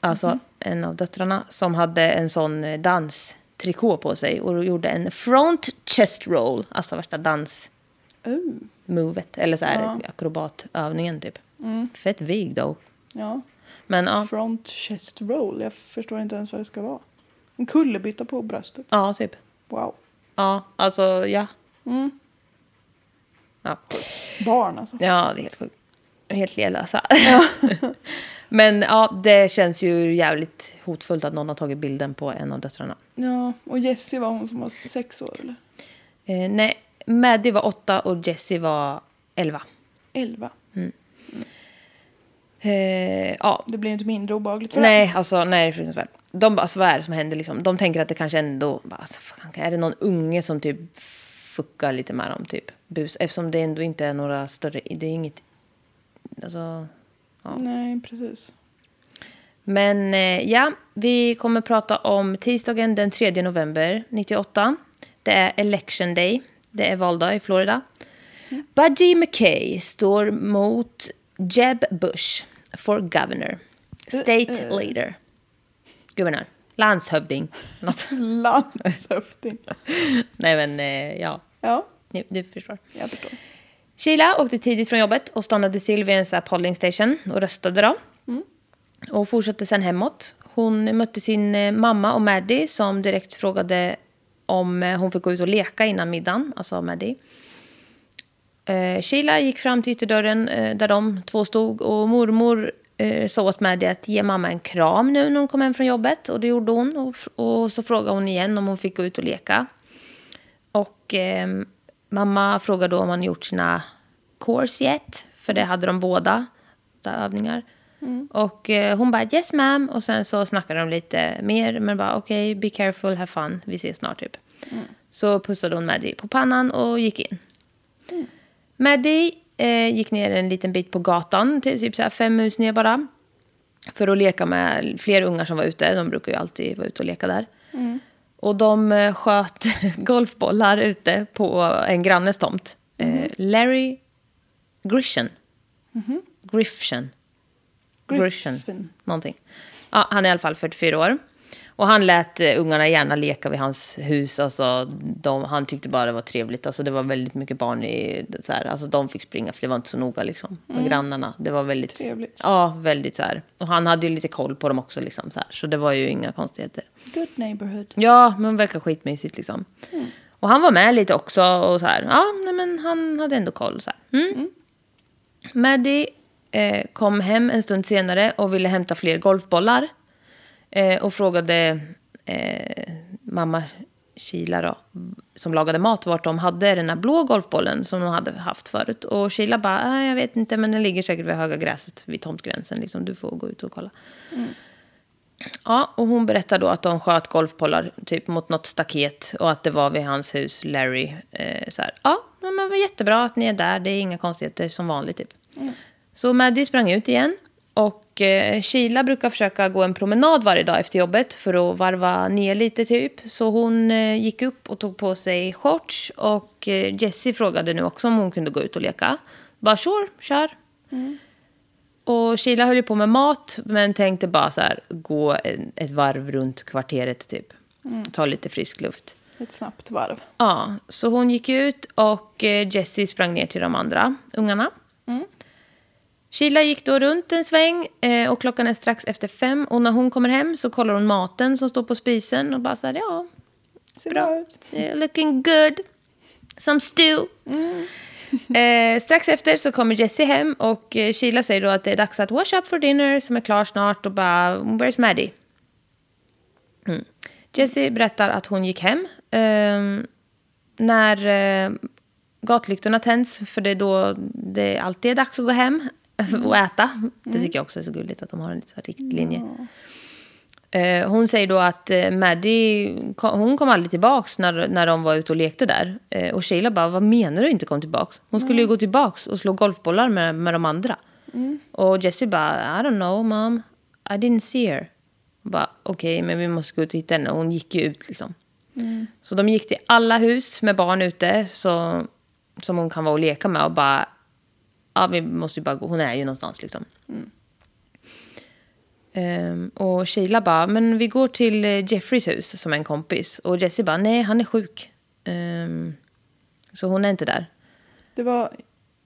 [SPEAKER 1] alltså en av döttrarna, som hade en sån eh, danstrikå på sig och gjorde en front chest roll, alltså värsta dans
[SPEAKER 2] Uh.
[SPEAKER 1] movet. Eller så här,
[SPEAKER 2] Ja.
[SPEAKER 1] akrobatövningen typ. Fett vig då.
[SPEAKER 2] Ja.
[SPEAKER 1] Men ja,
[SPEAKER 2] Front chest roll. Jag förstår inte ens vad det ska vara. En kullerbytta på bröstet.
[SPEAKER 1] ja typ.
[SPEAKER 2] Wow.
[SPEAKER 1] Ja, alltså ja.
[SPEAKER 2] Mm.
[SPEAKER 1] Ja,
[SPEAKER 2] Barn alltså.
[SPEAKER 1] ja det är helt sjukt. Helt lelösa. Men ja, det känns ju jävligt hotfullt att någon har tagit bilden på en av döttrarna.
[SPEAKER 2] Ja. Och Jessie var hon som var sex år eller?
[SPEAKER 1] Eh, nej, Maddie var åtta och Jessie var elva.
[SPEAKER 2] Elva.
[SPEAKER 1] Eh, ja,
[SPEAKER 2] Det blir ju inte mindre obehagligt för henne.
[SPEAKER 1] Nej, alltså nej, det är fruktansvärt. De bara, alltså, vad är det som händer liksom? De tänker att det kanske ändå, bara, alltså, fan, är det någon unge som typ fuckar lite med dem typ? Bus, eftersom det ändå inte är några större, det är inget, alltså. Ja.
[SPEAKER 2] Nej, precis.
[SPEAKER 1] Men eh, ja, vi kommer prata om tisdagen den 3 november 98. Det är election day, det är valdag i Florida. Budgie McKay står mot Jeb Bush for governor, state
[SPEAKER 2] Eh, eh.
[SPEAKER 1] leader, guvernör, landshövding. Något.
[SPEAKER 2] Landshövding.
[SPEAKER 1] Nej men eh, ja,
[SPEAKER 2] Ja,
[SPEAKER 1] ni- du förstår.
[SPEAKER 2] jag förstår.
[SPEAKER 1] Sheila åkte tidigt från jobbet och stannade till vid en så här polling station och röstade då. Och fortsatte sen hemåt. Hon mötte sin eh, mamma och Maddie som direkt frågade om eh, hon fick gå ut och leka innan middagen, alltså Maddie. Eh, Sheila gick fram till ytterdörren eh, där de två stod och mormor eh, sa åt Maddie att ge mamma en kram nu när hon kom hem från jobbet och det gjorde hon. Och, f- och så frågade hon igen om hon fick gå ut och leka. Och eh, mamma frågade då om han gjort sina course yet, för det hade de båda, där övningar. Och eh, hon bara yes ma'am och sen så snackade de lite mer men bara okej be careful, have fun, vi ses snart typ. Så pussade hon Maddie på pannan och gick in. Maddie eh, gick ner en liten bit på gatan, till typ så här fem hus ner bara. För att leka med fler ungar som var ute. De brukar ju alltid vara ute och leka där. Och de eh, sköt golfbollar ute på en grannes tomt. Eh, Larry Grisham. Grisham. Grisham.
[SPEAKER 2] Griffin.
[SPEAKER 1] Någonting. Ja, han är i alla fall 44 år. Och han lät eh, ungarna gärna leka vid hans hus. Alltså, de, han tyckte bara det var trevligt. Alltså, det var väldigt mycket barn i... Så här, alltså, de fick springa, för det var inte så noga. Liksom. Med grannarna. Det var väldigt...
[SPEAKER 2] Mm. Trevligt.
[SPEAKER 1] Ja, väldigt så här. Och han hade ju lite koll på dem också. Liksom, så, här, så det var ju inga konstigheter.
[SPEAKER 2] Good neighborhood.
[SPEAKER 1] Typ. Ja, men verkar skitmysigt liksom. Och han var med lite också och så här. Ja, nej, men han hade ändå koll så här. Mm. Maddie eh, kom hem en stund senare och ville hämta fler golfbollar. Eh, och frågade eh, mamma Kila då, som lagade mat vart de hade den här blå golfbollen som de hade haft förut. Och Kila bara, "Nej, jag vet inte men den ligger säkert vid höga gräset vid tomtgränsen. Liksom. Du får gå ut och kolla. Ja, och hon berättar då att de sköt golfbollar typ mot något staket och att det var vid hans hus, Larry. Eh, så här, ja, men vad jättebra att ni är där, det är inga konstigheter som vanligt typ. Så Maddie sprang ut igen och eh, Sheila brukar försöka gå en promenad varje dag efter jobbet för att varva ner lite typ. Så hon eh, gick upp och tog på sig shorts och eh, Jessie frågade nu också om hon kunde gå ut och leka. Bara sure, kör. Och Sheila höll ju på med mat, men tänkte bara så här, gå en- ett varv runt kvarteret typ. Ta lite frisk luft.
[SPEAKER 2] Ett snabbt varv.
[SPEAKER 1] Ja, så hon gick ut och eh, Jessie sprang ner till de andra ungarna.
[SPEAKER 2] Mm.
[SPEAKER 1] Sheila gick då runt en sväng eh, och klockan är strax efter fem. Och när hon kommer hem så kollar hon maten som står på spisen och bara så här, ja,
[SPEAKER 2] Ser
[SPEAKER 1] Bra.
[SPEAKER 2] bra ut.
[SPEAKER 1] Yeah, Eh, looking good. Some stew. eh, strax efter så kommer Jessie hem och eh, Sheila säger då att det är dags att wash up for dinner som är klar snart och bara “Where's Maddie?” mm. Jessie berättar att hon gick hem ehm, när eh, gatlyktorna tänds för det är då det alltid är dags att gå hem och äta. Det tycker jag också är så gulligt att de har en liten så här riktlinje. Eh, Hon säger då att eh, Maddie, ko- hon kom aldrig tillbaks när, när de var ute och lekte där. Eh, Och Sheila bara, vad menar du inte kom tillbaks? Hon skulle ju gå tillbaks och slå golfbollar med, med de andra. Och Jessie bara, I don't know mom, I didn't see her. Hon bara, okej men vi måste gå ut och hitta henne. Och Hon gick ju ut liksom. Så de gick till alla hus med barn ute så, som hon kan vara och leka med och bara, ja vi måste ju bara gå, hon är ju någonstans liksom. Ehm, och Sheila bara, men vi går till eh, Jeffreys hus som en kompis. Och Jessie bara, nej han är sjuk. Ehm, så hon är inte där.
[SPEAKER 2] Det var,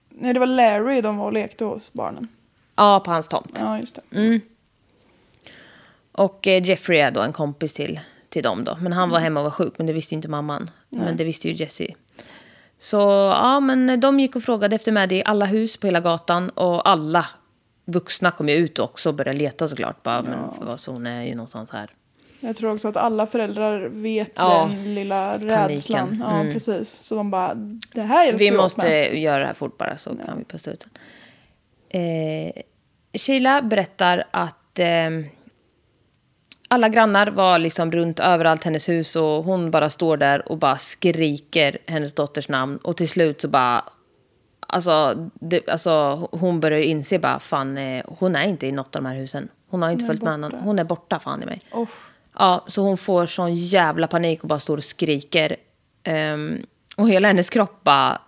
[SPEAKER 2] nej, det var Larry de var och lekte hos barnen.
[SPEAKER 1] Ja, på hans tomt.
[SPEAKER 2] Ja, just det.
[SPEAKER 1] Mm. Och eh, Jeffrey är då en kompis till, till dem då. Men han var hemma och var sjuk, men det visste ju inte mamman. Men det visste ju Jessie. Så ja, men de gick och frågade efter Maddie i alla hus på hela gatan. Och alla vuxna kom ju ut också och började leta såklart. Bara, men för vad, så hon är ju någonstans här.
[SPEAKER 2] Jag tror också att alla föräldrar vet
[SPEAKER 1] Ja. Mm.
[SPEAKER 2] den lilla rädslan. Ja, precis. Så de bara, det här hjälps
[SPEAKER 1] Vi
[SPEAKER 2] vi åt
[SPEAKER 1] måste
[SPEAKER 2] med.
[SPEAKER 1] göra det här fort bara så kan vi posta ut sen. Eh, Sheila berättar att eh, alla grannar var liksom runt överallt hennes hus och hon bara står där och bara skriker hennes dotters namn och till slut så bara Alltså, det, alltså hon börjar ju inse bara fan eh, hon är inte i något av de här husen. Hon har inte
[SPEAKER 2] är
[SPEAKER 1] följt med någon.
[SPEAKER 2] borta.
[SPEAKER 1] Hon är borta fan i mig.
[SPEAKER 2] Oh,
[SPEAKER 1] Ja, så hon får sån jävla panik och bara står och skriker. Ehm, och hela hennes kropp bara...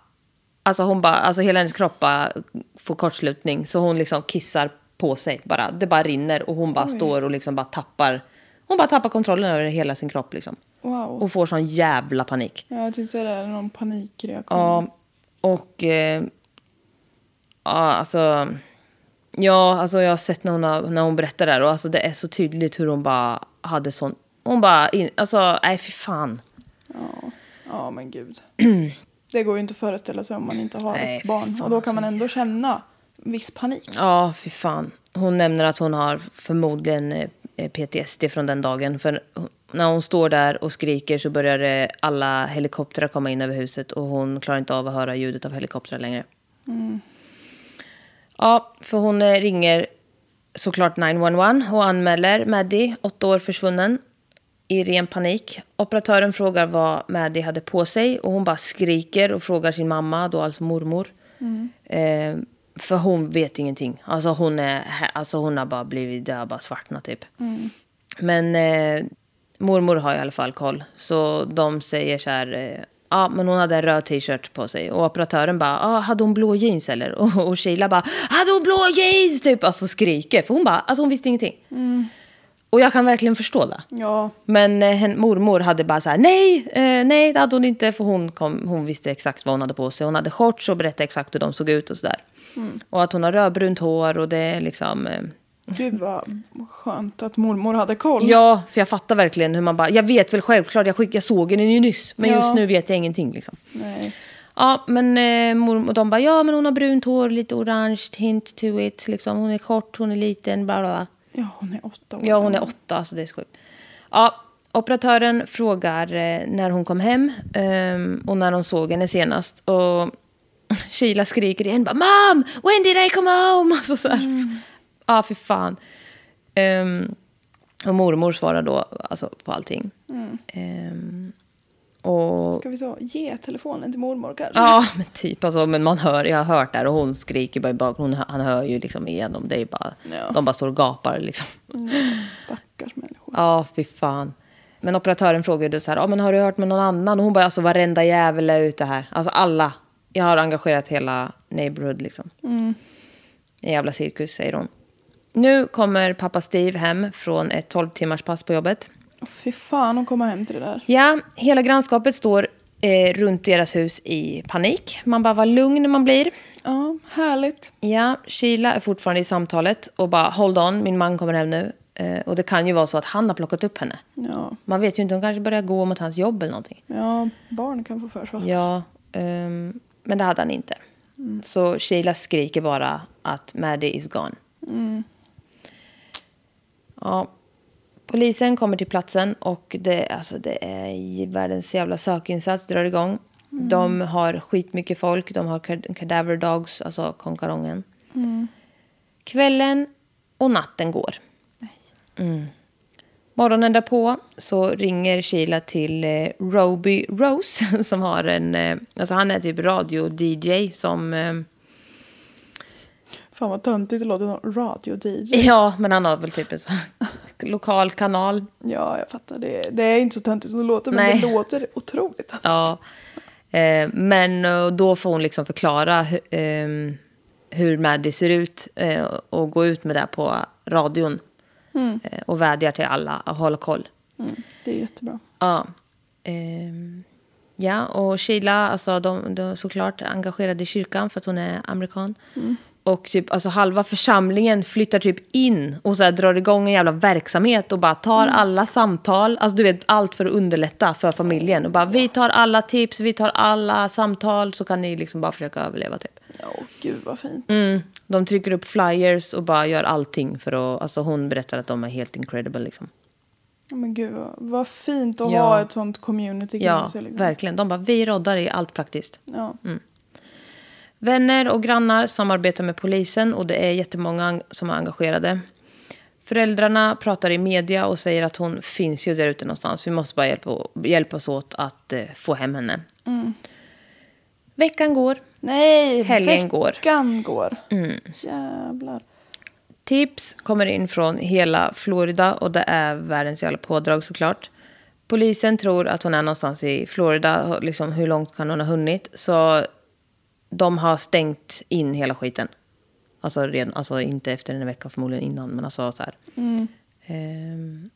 [SPEAKER 1] Alltså, hon bara, alltså hela hennes kropp bara får kortslutning. Så hon liksom kissar på sig bara. Det bara rinner och hon bara står och liksom bara tappar... Hon bara tappar kontrollen över hela sin kropp liksom.
[SPEAKER 2] wow.
[SPEAKER 1] Och får sån jävla panik.
[SPEAKER 2] Ja, jag tänkte säga det, är någon panikreaktion.
[SPEAKER 1] Ja, och... Eh, ja, alltså... Ja, alltså jag har sett när hon, har, när hon berättar det här och alltså det är så tydligt hur hon bara hade sån... Hon bara... In, alltså, nej fy fan.
[SPEAKER 2] Ja, ja men gud. det går ju inte att föreställa sig om man inte har
[SPEAKER 1] Nej,
[SPEAKER 2] ett
[SPEAKER 1] fy
[SPEAKER 2] barn.
[SPEAKER 1] fan, alltså.
[SPEAKER 2] Och då kan man ändå känna viss panik.
[SPEAKER 1] Ja, fy fan. Hon nämner att hon har förmodligen eh, PTSD från den dagen. För hon- när hon står där och skriker så börjar det alla helikoptrar komma in över huset och hon klarar inte av att höra ljudet av helikoptrar längre. Ja, för hon eh, ringer såklart 911 och anmäler Maddie, åtta år försvunnen, i ren panik. Operatören frågar vad Maddie hade på sig och hon bara skriker och frågar sin mamma, då alltså mormor. Eh, för hon vet ingenting. Alltså hon, är, alltså hon har bara blivit, det har bara svartnat typ. Men eh, mormor har i alla fall koll. Så de säger så här, eh, ja men hon hade en röd t-shirt på sig. Och operatören bara, ah, hade hon blå jeans eller? Och, och Sheila bara, hade hon blå jeans? Typ alltså skriker. För hon bara, alltså hon visste ingenting. Och jag kan verkligen förstå det.
[SPEAKER 2] Ja,
[SPEAKER 1] Men eh, hen, mormor hade bara så här, nej, eh, nej det hade hon inte. För hon, kom, hon visste exakt vad hon hade på sig. Hon hade shorts och berättade exakt hur de såg ut och sådär. Och att hon har rödbrunt hår och det är liksom... Eh,
[SPEAKER 2] gud vad skönt att mormor hade koll.
[SPEAKER 1] ja, för jag fattar verkligen hur man bara, jag vet väl självklart, jag, skick, jag såg den ju nyss. Men
[SPEAKER 2] Ja.
[SPEAKER 1] just nu vet jag ingenting liksom.
[SPEAKER 2] Nej.
[SPEAKER 1] Ja, men eh, mormor och de bara, ja men hon har brunt hår, lite orange, hint to it. Liksom. Hon är kort, hon är liten, bla bla bla.
[SPEAKER 2] Ja, hon är åtta år.
[SPEAKER 1] Ja, hon är åtta, så det är så sjukt. Ja, operatören frågar eh, när hon kom hem ehm, och när de såg henne senast. Och Sheila skriker igen bara “Mom! When did I come home?” alltså, så här. Ja, fy fan. Ehm, och mormor svarar då alltså, på allting. Ehm, och...
[SPEAKER 2] Ska vi så? Ge telefonen till mormor kanske?
[SPEAKER 1] Ja, men typ. Alltså, men man hör, jag har hört det här och hon skriker bara i bakgrunden. Hon- Han hör ju liksom igenom. Det är bara,
[SPEAKER 2] Ja.
[SPEAKER 1] De bara står och gapar liksom.
[SPEAKER 2] Mm, Stackars människor.
[SPEAKER 1] Ja, fy fan. Men operatören frågade så här, ja men har du hört med någon annan? Och hon bara, alltså varenda jävel är ute här. Alltså alla. Jag har engagerat hela neighborhood liksom. En jävla cirkus, säger hon. Nu kommer pappa Steve hem från ett 12 timmars pass på jobbet.
[SPEAKER 2] Åh, Fy fan hon kommer hem till det där.
[SPEAKER 1] Ja, hela grannskapet står eh, runt deras hus i panik. Man bara, vad lugn man blir.
[SPEAKER 2] Ja, härligt.
[SPEAKER 1] Ja, Sheila är fortfarande i samtalet och bara hold on, min man kommer hem nu. Eh, och det kan ju vara så att han har plockat upp henne.
[SPEAKER 2] Ja,
[SPEAKER 1] Man vet ju inte, hon kanske börjar gå mot hans jobb eller någonting.
[SPEAKER 2] ja barn kan få för sig vad som helst.
[SPEAKER 1] Ja, ehm, men det hade han inte. Så Sheila skriker bara att Maddie is gone. Ja, polisen kommer till platsen och det, alltså det är i världens jävla sökinsats drar igång. De har skitmycket folk, de har kad- cadaver dogs, alltså konkarongen. Kvällen och natten går. Morgonen därpå så ringer Sheila till eh, Roby Rose som har en, eh, alltså han är typ radio-DJ som, eh,
[SPEAKER 2] Fan vad töntigt det låter som radio-DJ.
[SPEAKER 1] ja men han har väl typ en sån lokal kanal.
[SPEAKER 2] Ja, jag fattar. Det, det är inte så töntigt som det låter,
[SPEAKER 1] Nej.
[SPEAKER 2] men det låter otroligt töntigt.
[SPEAKER 1] Ja. Eh, men eh, då får hon liksom förklara hu- ehm, hur Maddie ser ut eh, och gå ut med det på radion. Eh, och vädjar till alla att hålla koll.
[SPEAKER 2] Mm, det är jättebra.
[SPEAKER 1] Ja. Ehm, ja, och Sheila, alltså de, de är såklart engagerade i kyrkan för att hon är amerikan. Och typ, alltså halva församlingen flyttar typ in och så här drar igång en jävla verksamhet och bara tar alla samtal. Alltså du vet, allt för att underlätta för familjen. Och bara, vi tar alla tips, vi tar alla samtal så kan ni liksom bara försöka överleva typ.
[SPEAKER 2] Åh, gud vad fint.
[SPEAKER 1] Mm. De trycker upp flyers och bara gör allting för att, alltså hon berättar att de är helt incredible liksom.
[SPEAKER 2] Ja, Men gud, vad, vad fint att
[SPEAKER 1] Ja.
[SPEAKER 2] ha ett sånt community kring
[SPEAKER 1] Ja,
[SPEAKER 2] sig. Liksom.
[SPEAKER 1] verkligen. De bara, vi roddar i allt praktiskt.
[SPEAKER 2] Ja.
[SPEAKER 1] Mm. Vänner och grannar samarbetar med polisen och det är jättemånga ang- som är engagerade. Föräldrarna pratar i media och säger att hon finns ju där ute någonstans. Vi måste bara hjälpa, hjälpas åt att eh, få hem henne. Veckan går.
[SPEAKER 2] Nej,
[SPEAKER 1] Helgen går. Mm.
[SPEAKER 2] veckan går. Jävlar.
[SPEAKER 1] Tips kommer in från hela Florida och det är världens jävla pådrag såklart. Polisen tror att hon är någonstans i Florida, liksom hur långt kan hon ha hunnit? Så de har stängt in hela skiten. Alltså, redan, alltså inte efter en vecka förmodligen innan, men alltså så här.
[SPEAKER 2] Mm,
[SPEAKER 1] Ehm,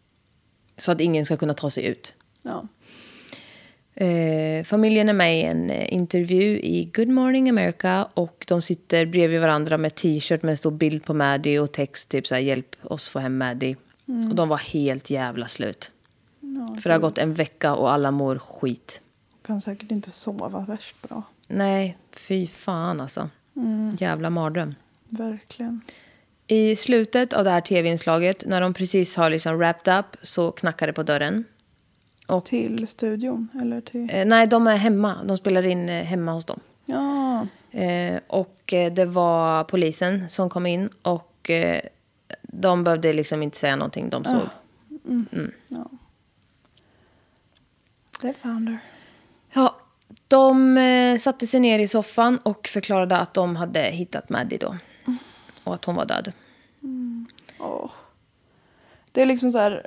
[SPEAKER 1] så att ingen ska kunna ta sig ut.
[SPEAKER 2] Ja.
[SPEAKER 1] Eh, familjen är med i en eh, intervju i Good Morning America och de sitter bredvid varandra med t-shirt med en stor bild på Maddie och text typ så här hjälp oss få hem Maddie. Och de var helt jävla slut.
[SPEAKER 2] ja.
[SPEAKER 1] För det har gått en vecka och alla mår skit.
[SPEAKER 2] Kan säkert inte sova värst bra. Mm,
[SPEAKER 1] Nej, fy fan alltså. Jävla mardröm.
[SPEAKER 2] Verkligen.
[SPEAKER 1] I slutet av det här tv-inslaget, när de precis har liksom wrapped up, så knackar det på dörren. Och,
[SPEAKER 2] Till studion, eller till...
[SPEAKER 1] eh, nej, de är hemma. De spelar in eh, hemma hos dem.
[SPEAKER 2] Ja.
[SPEAKER 1] Eh, och eh, det var polisen som kom in och eh, de behövde liksom inte säga någonting de såg.
[SPEAKER 2] Mm. ja. They found her.
[SPEAKER 1] Ja, de eh, satte sig ner i soffan och förklarade att de hade hittat Maddie då. Och att hon var död.
[SPEAKER 2] Åh. Det är liksom så här...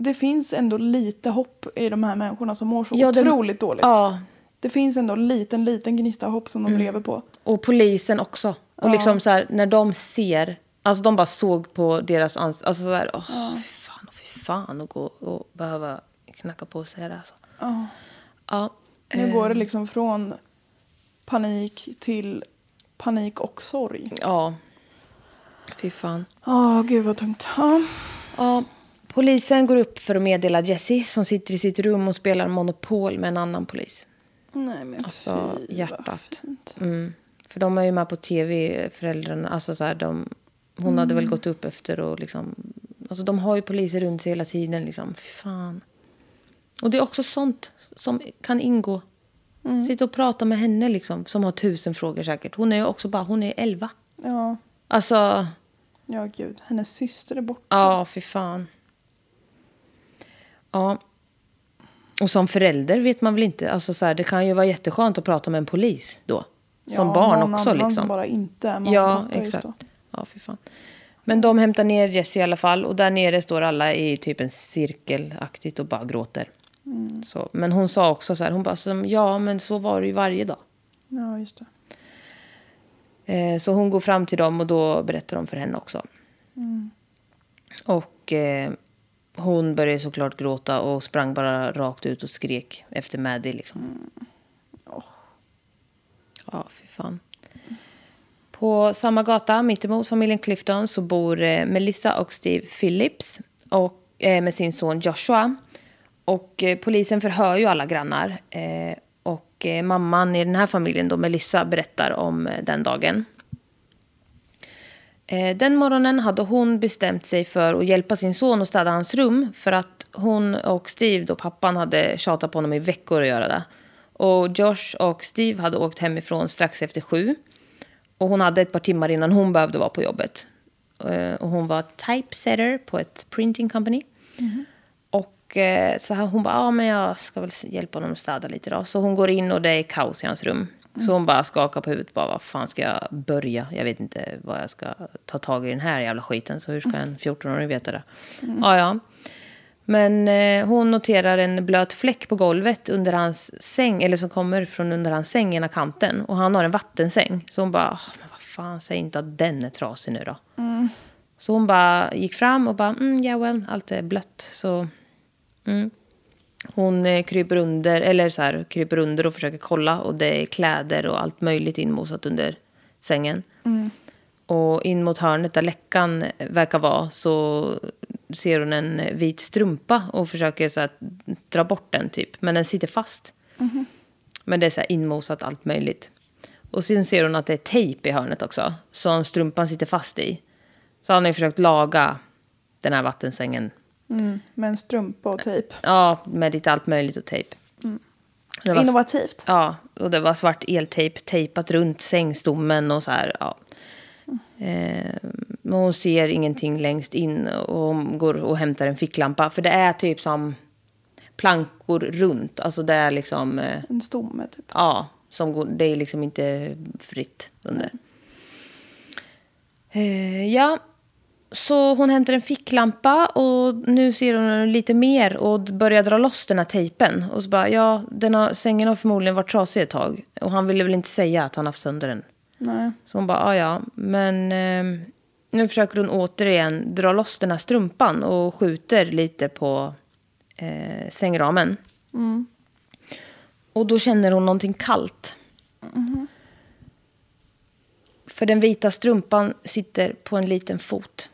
[SPEAKER 2] Det finns ändå lite hopp i de här människorna som mår så
[SPEAKER 1] Ja, det-
[SPEAKER 2] otroligt dåligt.
[SPEAKER 1] Ja,
[SPEAKER 2] Det finns ändå en liten, liten gnista hopp som de lever på.
[SPEAKER 1] och polisen också. Och
[SPEAKER 2] Ja.
[SPEAKER 1] liksom så här, när de ser, alltså de bara såg på deras ansikte. Alltså så här, åh, fy fan, fy fan att gå och behöva knacka på och säga det. Alltså.
[SPEAKER 2] Ja.
[SPEAKER 1] Ja,
[SPEAKER 2] Nu går det liksom från panik till panik och sorg.
[SPEAKER 1] ja. Fy fan.
[SPEAKER 2] Åh, gud vad tungt. Ja.
[SPEAKER 1] Ja, polisen går upp för att meddela Jesse som sitter i sitt rum och spelar Monopol med en annan polis.
[SPEAKER 2] Nej men
[SPEAKER 1] Alltså,
[SPEAKER 2] fy, vad
[SPEAKER 1] hjärtat.
[SPEAKER 2] fint.
[SPEAKER 1] Mm. För de är ju med på tv, föräldrarna. Alltså så här, de, hon hade väl gått upp efter och liksom... Alltså de har ju poliser runt sig hela tiden liksom. Fy fan. Och det är också sånt som kan ingå. Sitta och prata med henne liksom, som har tusen frågor säkert. Hon är ju också bara, hon är elva.
[SPEAKER 2] Ja,
[SPEAKER 1] Alltså,
[SPEAKER 2] ja gud. Hennes syster är borta.
[SPEAKER 1] ja fy fan. Ja. Och som förälder vet man väl inte, alltså så här, det kan ju vara jätteskönt att prata med en polis då. Som
[SPEAKER 2] ja,
[SPEAKER 1] barn
[SPEAKER 2] någon
[SPEAKER 1] också
[SPEAKER 2] annan
[SPEAKER 1] liksom.
[SPEAKER 2] som bara inte är mamma och
[SPEAKER 1] Ja,
[SPEAKER 2] pappa just
[SPEAKER 1] exakt.
[SPEAKER 2] då.
[SPEAKER 1] Ja, för fan. Men de hämtar ner Jesse i alla fall och där nere står alla i typ en cirkelaktigt och bara gråter.
[SPEAKER 2] Mm.
[SPEAKER 1] Så, men hon sa också så här, hon bara som, ja men så var det ju varje dag.
[SPEAKER 2] Ja, just det.
[SPEAKER 1] Eh, så hon går fram till dem och då berättar de för henne också. Och eh, hon började såklart gråta och sprang bara rakt ut och skrek efter Maddie liksom.
[SPEAKER 2] Åh.
[SPEAKER 1] Ja, fy fan. På samma gata mittemot familjen Clifton så bor eh, Melissa och Steve Phillips och, eh, med sin son Joshua. Och eh, polisen förhör ju alla grannar. Eh, och eh, mamman i den här familjen då, Melissa, berättar om eh, den dagen. Eh, Den morgonen hade hon bestämt sig för att hjälpa sin son att städa hans rum för att hon och Steve, då pappan, hade tjatat på honom i veckor att göra det. Och Josh och Steve hade åkt hemifrån strax efter sju. Och hon hade ett par timmar innan hon behövde vara på jobbet. Eh, Och hon var typesetter på ett printing company. Och eh, så här, hon bara, ja men jag ska väl hjälpa honom att städa lite då. Så hon går in och det är kaos i hans rum. Så hon bara skakar på huvudet, bara vad fan ska jag börja? Jag vet inte vad jag ska ta tag i den här jävla skiten. Så hur ska en 14-åring veta det? Ja, ja. Men eh, hon noterar en blöt fläck på golvet under hans säng, eller som kommer från under hans säng ena kanten. Och han har en vattensäng. Så hon bara, "Ah, men vad fan, säg inte att den är trasig nu då. Så hon bara gick fram och bara, mm, yeah well, allt är blött. Så, mm. Hon eh, kryper under, eller så här, kryper under och försöker kolla och det är kläder och allt möjligt inmosat under sängen. Och in mot hörnet där läckan verkar vara så ser hon en vit strumpa och försöker så här, dra bort den typ. Men den sitter fast. Men det är så här inmosat allt möjligt. Och sen ser hon att det är tejp i hörnet också. Som strumpan sitter fast i. Så han har ju försökt laga den här vattensängen.
[SPEAKER 2] Mm, med en strumpa och typ. tejp.
[SPEAKER 1] Ja, med lite allt möjligt och tejp. Det var-
[SPEAKER 2] Innovativt.
[SPEAKER 1] Ja, och det var svart eltejp tejpat runt sängstommen och så här. Ja. Eh, men hon ser ingenting längst in och hon går och hämtar en ficklampa. För det är typ som plankor runt. Alltså det är liksom... Eh,
[SPEAKER 2] En stomme typ.
[SPEAKER 1] Ja, som går, det är liksom inte fritt under. Eh, ja, så hon hämtar en ficklampa och nu ser hon lite mer och börjar dra loss den här tejpen. Och så bara, ja, den har, sängen har förmodligen varit trasig ett tag. Och han ville väl inte säga att han haft sönder den.
[SPEAKER 2] Nej.
[SPEAKER 1] Så hon bara, ja ja, men eh, nu försöker hon återigen dra loss den här strumpan och skjuter lite på eh, sängramen. Och då känner hon någonting kallt. För den vita strumpan sitter på en liten fot.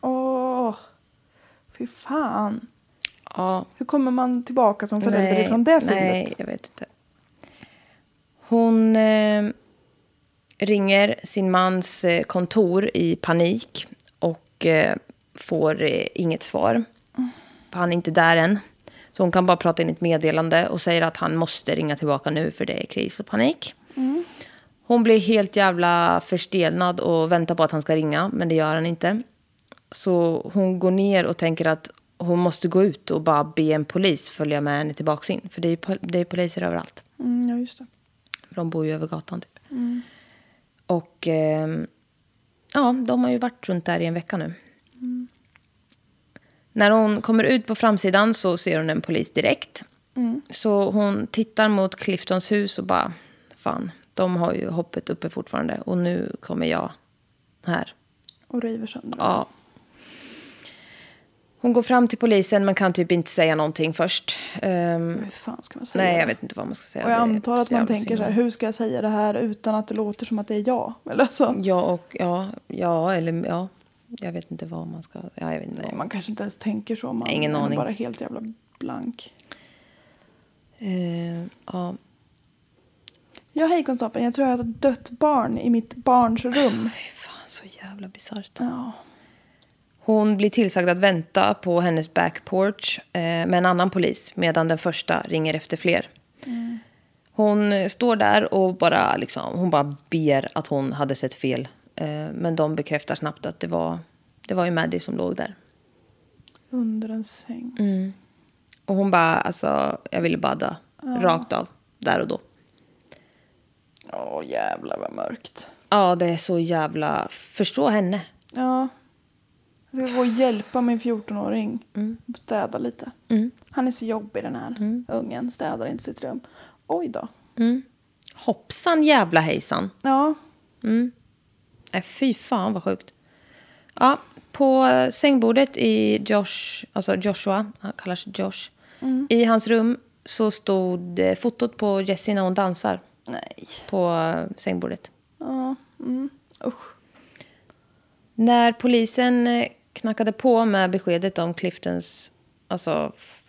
[SPEAKER 2] Åh. Fy fan.
[SPEAKER 1] Ja,
[SPEAKER 2] Hur kommer man tillbaka som förälder
[SPEAKER 1] Nej,
[SPEAKER 2] ifrån det
[SPEAKER 1] Nej,
[SPEAKER 2] fyndet?
[SPEAKER 1] jag vet inte. Hon eh, ringer sin mans eh, kontor i panik och eh, får eh, inget svar. För han är inte där än. Så hon kan bara prata in ett meddelande och säger att han måste ringa tillbaka nu för det är kris och panik. Hon blir helt jävla förstelnad och väntar på att han ska ringa, men det gör han inte. Så hon går ner och tänker att hon måste gå ut och bara be en polis följa med henne tillbaka in. För det är, ju pol- det är poliser överallt.
[SPEAKER 2] Mm, ja, just det.
[SPEAKER 1] För de bor ju över gatan typ.
[SPEAKER 2] Mm.
[SPEAKER 1] Och ehm, ja, de har ju varit runt där i en vecka nu.
[SPEAKER 2] Mm.
[SPEAKER 1] När hon kommer ut på framsidan så ser hon en polis direkt.
[SPEAKER 2] Mm.
[SPEAKER 1] Så hon tittar mot Cliftons hus och bara, fan, de har ju hoppet uppe fortfarande. Och nu kommer jag här.
[SPEAKER 2] Och river sönder.
[SPEAKER 1] Ja. Hon går fram till polisen men kan typ inte säga någonting först. Ehm,
[SPEAKER 2] Hur fan ska man säga
[SPEAKER 1] nej, jag
[SPEAKER 2] det?
[SPEAKER 1] vet inte vad man ska säga.
[SPEAKER 2] Och jag
[SPEAKER 1] Det är
[SPEAKER 2] antar att
[SPEAKER 1] så
[SPEAKER 2] man
[SPEAKER 1] jävla
[SPEAKER 2] tänker
[SPEAKER 1] synd.
[SPEAKER 2] så här, hur ska jag säga det här utan att det låter som att det är jag? Eller så.
[SPEAKER 1] Ja, och, ja, ja, eller ja. Jag vet inte vad man ska... Ja, jag vet inte.
[SPEAKER 2] Nej, man kanske inte ens tänker så. Man
[SPEAKER 1] Ingen
[SPEAKER 2] är nog
[SPEAKER 1] aning.
[SPEAKER 2] bara helt jävla blank.
[SPEAKER 1] Eh, ja.
[SPEAKER 2] Ja, hej konstapeln. Jag tror jag har ett dött barn i mitt barns rum.
[SPEAKER 1] Fy fan, så jävla bisarrt.
[SPEAKER 2] Ja.
[SPEAKER 1] Hon blir tillsagd att vänta på hennes backporch eh, med en annan polis medan den första ringer efter fler. Hon eh, står där och bara, liksom, hon bara ber att hon hade sett fel. Eh, men de bekräftar snabbt att det var, det var ju Maddie som låg där.
[SPEAKER 2] Under en säng.
[SPEAKER 1] Mm. Och hon bara, alltså, jag ville bara dö. Rakt av, där och då.
[SPEAKER 2] Åh, jävlar vad mörkt.
[SPEAKER 1] Ja, det är så jävla... Förstå henne.
[SPEAKER 2] Ja. Jag ska gå och hjälpa min 14-åring
[SPEAKER 1] Mm.
[SPEAKER 2] städa lite. Han är så jobbig den här ungen. Städar inte sitt rum. Oj då.
[SPEAKER 1] Hoppsan jävla hejsan.
[SPEAKER 2] Ja.
[SPEAKER 1] Nej, fy fan vad sjukt. Ja, på eh, sängbordet i Josh, alltså Joshua, han kallas Josh, i hans rum så stod eh, fotot på Jessie när hon dansar
[SPEAKER 2] Nej.
[SPEAKER 1] på eh, sängbordet.
[SPEAKER 2] Ja. Mm. Usch.
[SPEAKER 1] När polisen eh, knackade på med beskedet om Cliftons, alltså, f-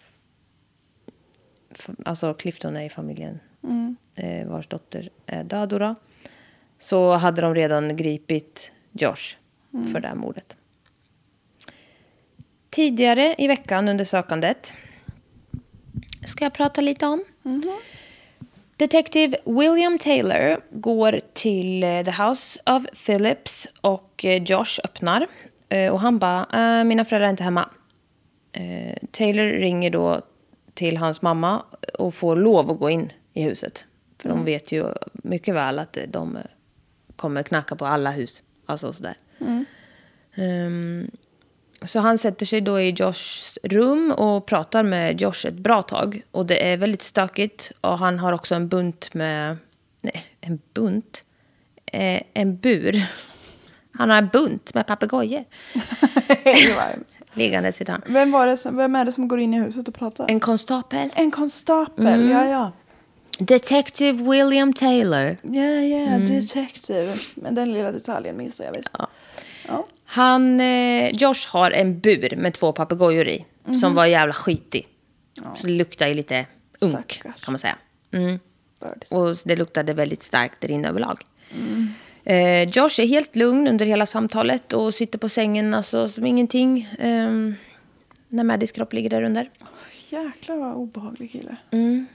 [SPEAKER 1] f- alltså Clifton är i familjen
[SPEAKER 2] Mm.
[SPEAKER 1] eh, vars dotter är död då, då, så hade de redan gripit Josh för det här mordet. Tidigare i veckan under sökandet ska jag prata lite om. Detektiv William Taylor går till eh, The House of Phillips och eh, Josh öppnar. Eh, Och han bara, "Eh, mina föräldrar är inte hemma. Eh, Taylor ringer då till hans mamma och får lov att gå in i huset. För de vet ju mycket väl att eh, de eh, kommer knacka på alla hus. Alltså sådär. Ehm, så han sätter sig då i Joshs rum och pratar med Josh ett bra tag. Och det är väldigt stökigt. Och han har också en bunt med... Nej, en bunt? Eh, en bur. Han har en bunt med papegojor
[SPEAKER 2] Det var hemskt.
[SPEAKER 1] liggandes i den.
[SPEAKER 2] vem, var det som, vem är det som går in i huset och pratar?
[SPEAKER 1] En Mm. konstapel.
[SPEAKER 2] En konstapel. Ja, ja.
[SPEAKER 1] Detective William Taylor.
[SPEAKER 2] Ja, ja.
[SPEAKER 1] Mm.
[SPEAKER 2] Detective. Men den lilla detaljen missar jag visst. Ja. ja.
[SPEAKER 1] Han, eh, Josh har en bur med två papegojor i. Som var jävla skitig. Så det luktar ju lite unk
[SPEAKER 2] Stackars.
[SPEAKER 1] kan man säga. Mm.
[SPEAKER 2] Birdies.
[SPEAKER 1] Och det luktade väldigt starkt där inne överlag. Eh, Josh är helt lugn under hela samtalet och sitter på sängen alltså, som ingenting. ehm, när Maddies kropp ligger där under.
[SPEAKER 2] Jäklar vad obehaglig kille.
[SPEAKER 1] Mm.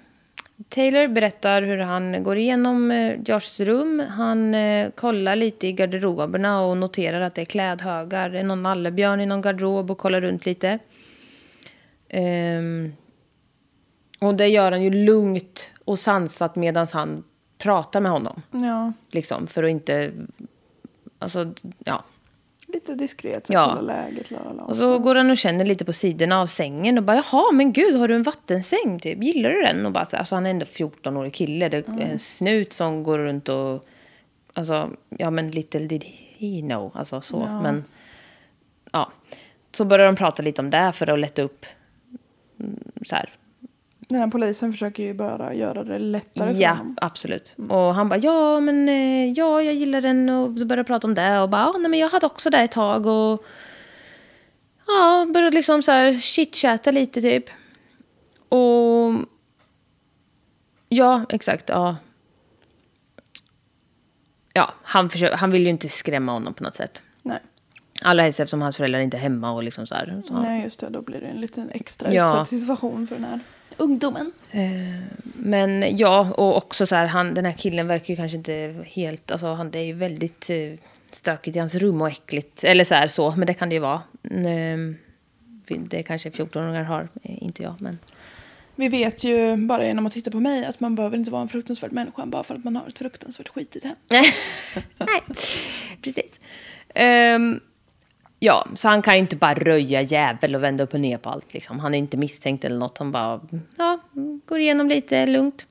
[SPEAKER 1] Taylor berättar hur han går igenom eh, Joshs rum. Han eh, kollar lite i garderoberna och noterar att det är klädhögar. Det är någon nallebjörn i någon garderob och kollar runt lite. Ehm, och det gör han ju lugnt och sansat medan han pratar med honom.
[SPEAKER 2] Ja.
[SPEAKER 1] Liksom, för att inte... Alltså, ja.
[SPEAKER 2] Lite diskret. Så
[SPEAKER 1] Ja.
[SPEAKER 2] kolla läget. La, la, la.
[SPEAKER 1] Och så går han och känner lite på sidorna av sängen och bara jaha men gud har du en vattensäng typ? Gillar du den? Och bara, så- alltså han är ändå 14-årig kille. Det är en snut som går runt och alltså ja men little did he know. Alltså så men ja. Så börjar de prata lite om det för att lätta upp mm, så här
[SPEAKER 2] Den här polisen försöker ju bara göra det lättare för
[SPEAKER 1] Ja,
[SPEAKER 2] honom.
[SPEAKER 1] absolut. Och han bara, ja men eh, ja, jag gillar den och då började jag prata om det och bara, ah, nej men jag hade också det ett tag och ja, började liksom så här chitchatta lite typ. Och ja, exakt, ja. Ja, han, försöker, han vill ju inte skrämma honom på något sätt.
[SPEAKER 2] Nej.
[SPEAKER 1] Allra helst eftersom hans föräldrar inte är hemma och liksom så här. Så han-
[SPEAKER 2] Nej, just det. Då blir det en liten extra
[SPEAKER 1] Ja.
[SPEAKER 2] utsatt situation för den här ungdomen.
[SPEAKER 1] Men ja, och också så här, han, den här killen verkar ju kanske inte helt, alltså han det är ju väldigt eh, stökigt i hans rum och äckligt, eller så här så, men det kan det ju vara. Mm, det kanske 14-åringar har, eh, inte jag, men
[SPEAKER 2] Vi vet ju bara genom att titta på mig att man behöver inte vara en fruktansvärd människa bara för att man har ett fruktansvärt skitigt hem.
[SPEAKER 1] Nej, precis. Ehm, ja, så han kan ju inte bara röja jävel och vända upp och ner på allt. Liksom. Han är inte misstänkt eller något. Han bara ja, går igenom lite lugnt.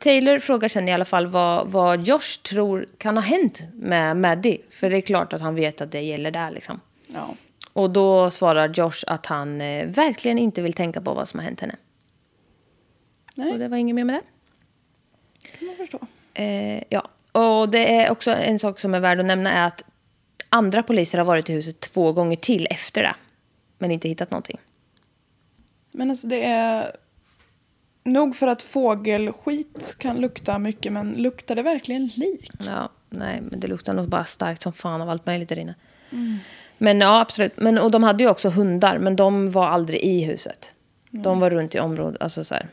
[SPEAKER 1] Taylor frågar sen i alla fall vad, vad Josh tror kan ha hänt med Maddie. För det är klart att han vet att det gäller där. Liksom.
[SPEAKER 2] Ja.
[SPEAKER 1] Och då svarar Josh att han eh, verkligen inte vill tänka på vad som har hänt henne.
[SPEAKER 2] Nej.
[SPEAKER 1] Och det var inget mer med det.
[SPEAKER 2] kan man förstå.
[SPEAKER 1] Eh, ja, och det är också en sak som är värd att nämna är att andra poliser har varit i huset två gånger till efter det. Men inte hittat någonting.
[SPEAKER 2] Men alltså det är... Nog för att fågelskit kan lukta mycket, men luktar det verkligen lik?
[SPEAKER 1] Ja, nej, men det luktar nog bara starkt som fan av allt möjligt där inne. Men ja, absolut. Men, och de hade ju också hundar, men de var aldrig i huset. De var runt i området. Alltså så här.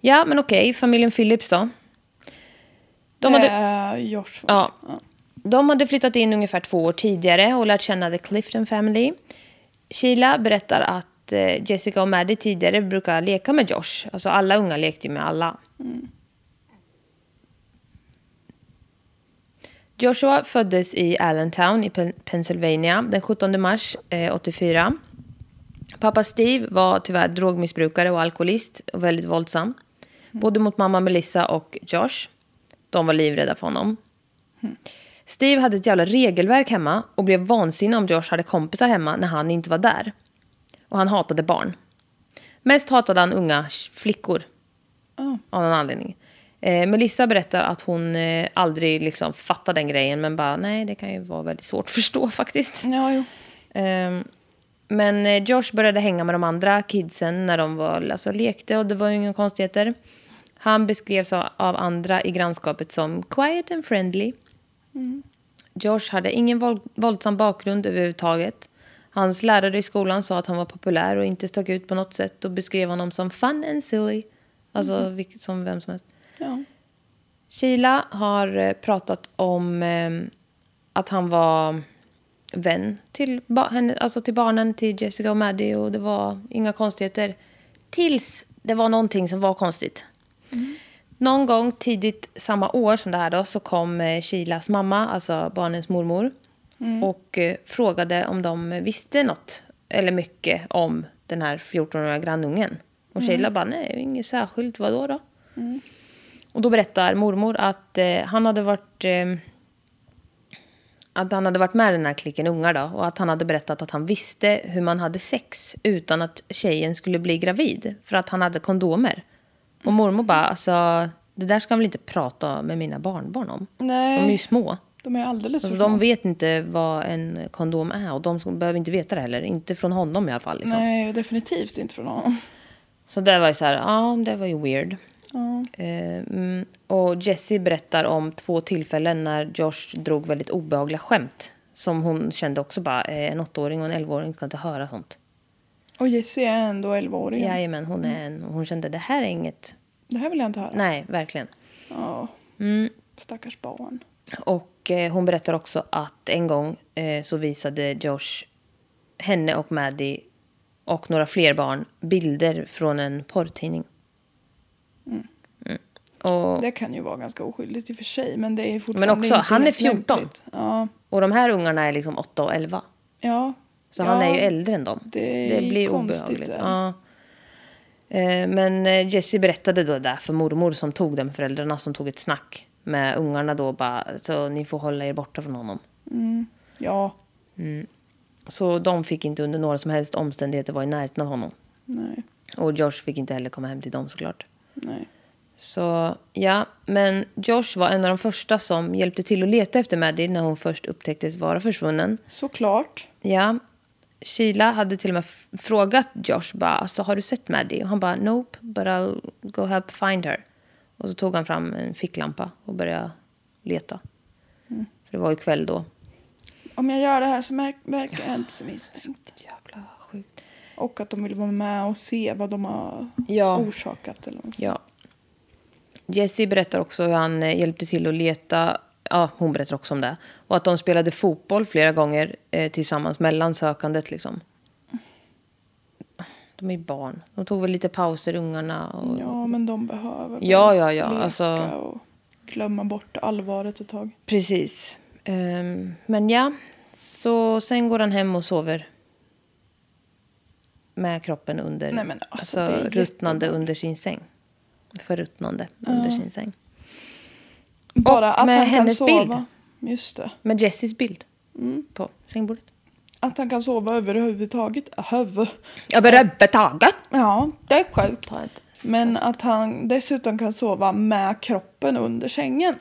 [SPEAKER 1] Ja, men okej. Familjen Phillips då? De
[SPEAKER 2] det
[SPEAKER 1] hade,
[SPEAKER 2] är Josh.
[SPEAKER 1] Ja. de hade flyttat in ungefär två år tidigare och lärt känna The Clifton Family. Sheila berättar att eh, Jessica och Maddie tidigare brukar leka med Josh. Alltså alla unga lekte ju med alla. Joshua föddes i Allentown i Pen- Pennsylvania den 17 mars eh, 84. Pappa Steve var tyvärr drogmissbrukare och alkoholist och väldigt våldsam. Både mot mamma Melissa och Josh. De var livrädda för honom. Steve hade ett jävla regelverk hemma och blev vansinnig om Josh hade kompisar hemma när han inte var där. Och han hatade barn. Mest hatade han unga sh- flickor.
[SPEAKER 2] Ja.
[SPEAKER 1] Av någon anledning. Eh, Melissa berättar att hon eh, aldrig liksom fattade den grejen men bara nej det kan ju vara väldigt svårt att förstå faktiskt.
[SPEAKER 2] Ja, jo.
[SPEAKER 1] Ehm, men eh, Josh började hänga med de andra kidsen när de var, alltså, lekte och det var ju inga konstigheter. Han beskrevs av av andra i grannskapet som quiet and friendly. Josh hade ingen våld, våldsam bakgrund överhuvudtaget. Hans lärare i skolan sa att han var populär och inte stack ut på något sätt och beskrev honom som fun and silly. Alltså vilket, som vem som helst.
[SPEAKER 2] Ja.
[SPEAKER 1] Sheila har eh, pratat om eh, att han var vän till, ba- henne, alltså till barnen, till Jessica och Maddie och det var inga konstigheter. Tills det var någonting som var konstigt. Någon gång tidigt samma år som det här då så kom eh, Sheilas mamma, alltså barnens mormor och eh, frågade om de visste något eller mycket om den här 14-åriga grannungen. Och Sheila bara, nej, inget särskilt, vadå då? Och då berättar mormor att eh, han hade varit... Eh, att han hade varit med i den här klicken ungar då och att han hade berättat att han visste hur man hade sex utan att tjejen skulle bli gravid för att han hade kondomer.
[SPEAKER 2] Mm.
[SPEAKER 1] Och mormor bara, alltså det där ska han väl inte prata med mina barnbarn om? De är ju
[SPEAKER 2] Nej,
[SPEAKER 1] små.
[SPEAKER 2] de är alldeles för
[SPEAKER 1] Alltså,
[SPEAKER 2] små.
[SPEAKER 1] de vet inte vad en kondom är och de som- behöver inte veta det heller. Inte från honom i alla fall. Liksom.
[SPEAKER 2] Nej, definitivt inte från honom.
[SPEAKER 1] Så det var ju så här, ja det var ju weird.
[SPEAKER 2] Ja.
[SPEAKER 1] Eh, mm, och Jessie berättar om två tillfällen när Josh drog väldigt obehagliga skämt. Som hon kände också bara, eh, en åttaåring och en elvaåring ska inte höra sånt.
[SPEAKER 2] Och Jessie är ändå 11-åring.
[SPEAKER 1] Jajamän, hon, är en, hon kände det här är inget.
[SPEAKER 2] Det här vill jag inte höra.
[SPEAKER 1] Nej, verkligen.
[SPEAKER 2] Ja,
[SPEAKER 1] Mm.
[SPEAKER 2] stackars barn.
[SPEAKER 1] Och eh, hon berättar också att en gång eh, så visade Josh henne och Maddie och några fler barn bilder från en porrtidning. Mm. Och,
[SPEAKER 2] Det kan ju vara ganska oskyldigt i och för sig, men det är fortfarande
[SPEAKER 1] också,
[SPEAKER 2] inte
[SPEAKER 1] han är
[SPEAKER 2] helt
[SPEAKER 1] 14.
[SPEAKER 2] lämpligt. Ja,
[SPEAKER 1] och de här ungarna är liksom 8 och 11.
[SPEAKER 2] ja.
[SPEAKER 1] Så
[SPEAKER 2] ja,
[SPEAKER 1] han är ju äldre än dem.
[SPEAKER 2] det är konstigt där.
[SPEAKER 1] Ja. Eh, Men eh, Jessie berättade då det där för mormor som tog den, föräldrarna som tog ett snack med ungarna då bara, så ni får hålla er borta från honom.
[SPEAKER 2] Mm, ja,
[SPEAKER 1] Så de fick inte under några som helst omständigheter vara i närheten av honom.
[SPEAKER 2] nej,
[SPEAKER 1] Och Josh fick inte heller komma hem till dem såklart.
[SPEAKER 2] nej.
[SPEAKER 1] Så ja, men Josh var en av de första som hjälpte till att leta efter Maddie när hon först upptäcktes vara försvunnen.
[SPEAKER 2] Såklart.
[SPEAKER 1] Ja. Sheila hade till och med f- frågat Josh bara, alltså, har du sett Maddie? Och han bara, nope, but I'll go help find her. Och så tog han fram en ficklampa och började leta. För det var ju kväll då.
[SPEAKER 2] Om jag gör det här så märk- verkar jag inte så misstänkt.
[SPEAKER 1] Jävla sjukt.
[SPEAKER 2] Och att de vill vara med och se vad de har
[SPEAKER 1] Ja.
[SPEAKER 2] orsakat. Eller något.
[SPEAKER 1] Ja. Jesse berättar också hur han eh, hjälpte till att leta. Ja, hon berättar också om det. Och att de spelade fotboll flera gånger eh, tillsammans mellan sökandet liksom. De är ju barn. De tog väl lite pauser, ungarna. Och,
[SPEAKER 2] ja, men de behöver väl
[SPEAKER 1] Ja, ja, ja,
[SPEAKER 2] leka
[SPEAKER 1] alltså-
[SPEAKER 2] och glömma bort allvaret ett tag.
[SPEAKER 1] Precis. Ehm, men ja, så sen går han hem och sover. Med kroppen under,
[SPEAKER 2] Nej, men alltså,
[SPEAKER 1] alltså,
[SPEAKER 2] det är
[SPEAKER 1] ruttnande
[SPEAKER 2] jättebarn.
[SPEAKER 1] under sin säng. Förruttnande under sin säng.
[SPEAKER 2] Bara att
[SPEAKER 1] med
[SPEAKER 2] han kan
[SPEAKER 1] hennes
[SPEAKER 2] sova. Just det.
[SPEAKER 1] Med Jessys bild på sängbordet.
[SPEAKER 2] Att han kan sova överhuvudtaget. Höv.
[SPEAKER 1] Överhuvudtaget.
[SPEAKER 2] Ja, det är sjukt.
[SPEAKER 1] Ta ett.
[SPEAKER 2] Men att han dessutom kan sova med kroppen under sängen.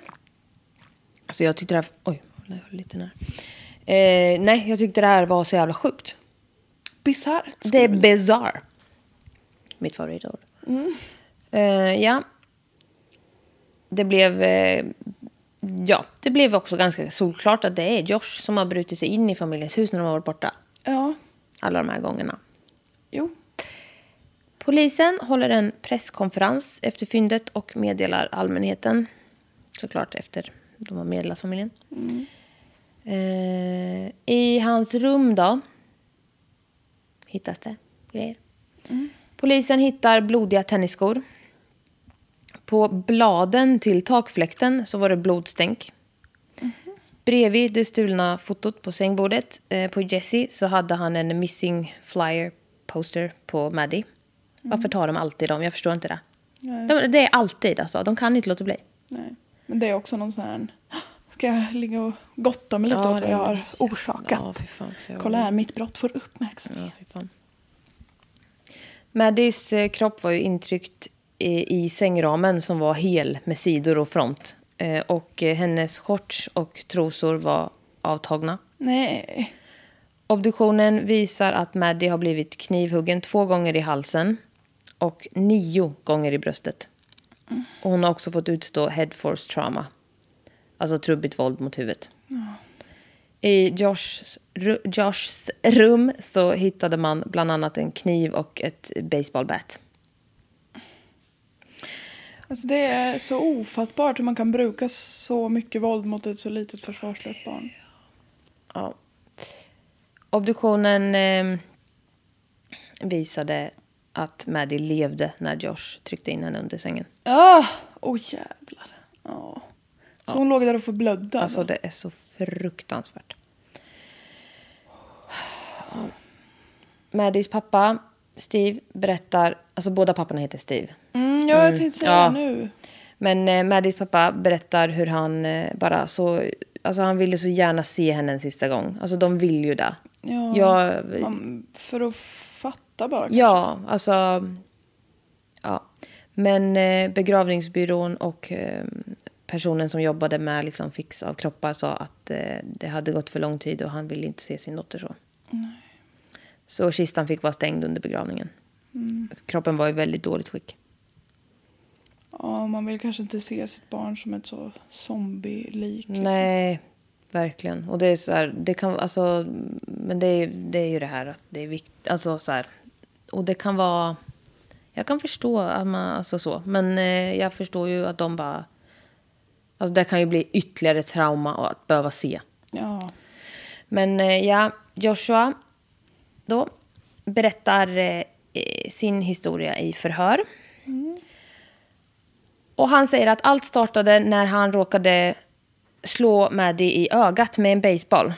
[SPEAKER 1] Alltså jag tyckte det här... Oj, jag höll lite nära. Eh, nej, jag tyckte det här var så jävla sjukt.
[SPEAKER 2] Bisarrt.
[SPEAKER 1] Det är bizarre. mitt favoritord. Eh, ja. Det blev... eh, ja, det blev också ganska solklart att det är Josh som har brutit sig in i familjens hus när de har varit borta.
[SPEAKER 2] Ja,
[SPEAKER 1] Alla de här gångerna.
[SPEAKER 2] jo.
[SPEAKER 1] Polisen håller en presskonferens efter fyndet och meddelar allmänheten. Såklart efter de har meddelat familjen. Eh, I hans rum då hittas det grejer. Polisen hittar blodiga tennisskor. På bladen till takfläkten så var det blodstänk. Bredvid det stulna fotot på sängbordet eh, på Jesse så hade han en missing flyer poster på Maddie. Varför tar de alltid dem? Jag förstår inte det.
[SPEAKER 2] Mm. Nej.
[SPEAKER 1] De, det är alltid alltså. De kan inte låta bli.
[SPEAKER 2] Nej. Men det är också någon sån här... Ska jag ligga och gotta mig lite
[SPEAKER 1] Ja, det
[SPEAKER 2] åt vad jag
[SPEAKER 1] är
[SPEAKER 2] har
[SPEAKER 1] så jävla-
[SPEAKER 2] orsakat?
[SPEAKER 1] ja, fy fan, så jävla-
[SPEAKER 2] Kolla här, mitt brott får uppmärksamhet.
[SPEAKER 1] Ja, fy fan. Maddies eh, kropp var ju intryckt i, i sängramen som var hel med sidor och front. Eh, Och eh, hennes shorts och trosor var avtagna.
[SPEAKER 2] Nej.
[SPEAKER 1] Obduktionen visar att Maddie har blivit knivhuggen två gånger i halsen och nio gånger i bröstet. Och hon har också fått utstå head force trauma. Alltså trubbigt våld mot huvudet. I Joshs, ru, Joshs rum så hittade man bland annat en kniv och ett baseballbat.
[SPEAKER 2] Alltså det är så ofattbart hur man kan bruka så mycket våld mot ett så litet försvarslöst barn.
[SPEAKER 1] Ja. Obduktionen eh, visade att Maddie levde när Josh tryckte in henne under sängen.
[SPEAKER 2] Åh, oh, jävlar. Ja. Så hon låg där och förblödde.
[SPEAKER 1] Alltså
[SPEAKER 2] då?
[SPEAKER 1] det är så fruktansvärt. Maddies pappa, Steve, berättar... Alltså båda papporna heter Steve.
[SPEAKER 2] Mm, ja, jag tänkte säga
[SPEAKER 1] ja.
[SPEAKER 2] det nu.
[SPEAKER 1] Men eh, Maddies pappa berättar hur han eh, bara så... Alltså han ville så gärna se henne en sista gång. Alltså de vill ju det.
[SPEAKER 2] Ja,
[SPEAKER 1] Jag,
[SPEAKER 2] man, för att fatta bara.
[SPEAKER 1] ja alltså... Ja. Men eh, begravningsbyrån och eh, personen som jobbade med liksom, fix av kroppar sa att eh, det hade gått för lång tid och han ville inte se sin dotter så. Så kistan fick vara stängd under begravningen. Kroppen var i väldigt dåligt skick.
[SPEAKER 2] Ja, man vill kanske inte se sitt barn som ett så zombie-lik. liksom.
[SPEAKER 1] Nej, verkligen. Och det är så här, det kan, alltså, men det är, det är ju det här att det är viktigt, alltså så här, och det kan vara, jag kan förstå att man, alltså så, men eh, jag förstår ju att de bara, alltså det kan ju bli ytterligare trauma och att behöva se.
[SPEAKER 2] Ja.
[SPEAKER 1] Men eh, ja, Joshua då berättar eh, eh, sin historia i förhör. Och han säger att allt startade när han råkade slå Maddie i ögat med en baseball.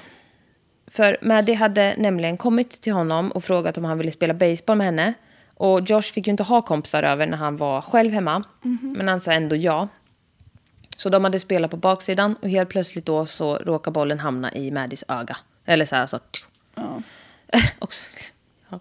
[SPEAKER 1] För Maddie hade nämligen kommit till honom och frågat om han ville spela baseball med henne. Och Josh fick ju inte ha kompisar över när han var själv hemma. Men han sa ändå ja. Så de hade spelat på baksidan och helt plötsligt då så råkar bollen hamna i Maddies öga. Eller så här så.
[SPEAKER 2] ja.
[SPEAKER 1] Också. Ja.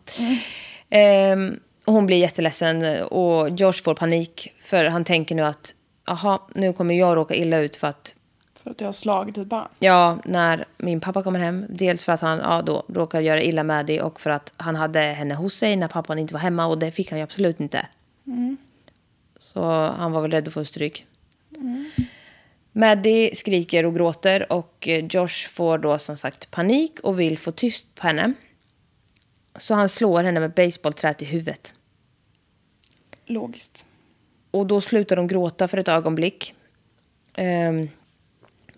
[SPEAKER 1] Ehm, och hon blir jätteledsen och Josh får panik för han tänker nu att aha, nu kommer jag råka illa ut för att
[SPEAKER 2] För att jag har slagit ett barn.
[SPEAKER 1] ja, när min pappa kommer hem, dels för att han ja, då råkar göra illa Maddie och för att han hade henne hos sig när pappan inte var hemma och det fick han ju absolut inte. Så han var väl rädd att få stryk. Maddie skriker och gråter och eh, Josh får då som sagt panik och vill få tyst på henne. Så han slår henne med baseballträet i huvudet.
[SPEAKER 2] Logiskt.
[SPEAKER 1] Och då slutar de gråta för ett ögonblick. Ehm,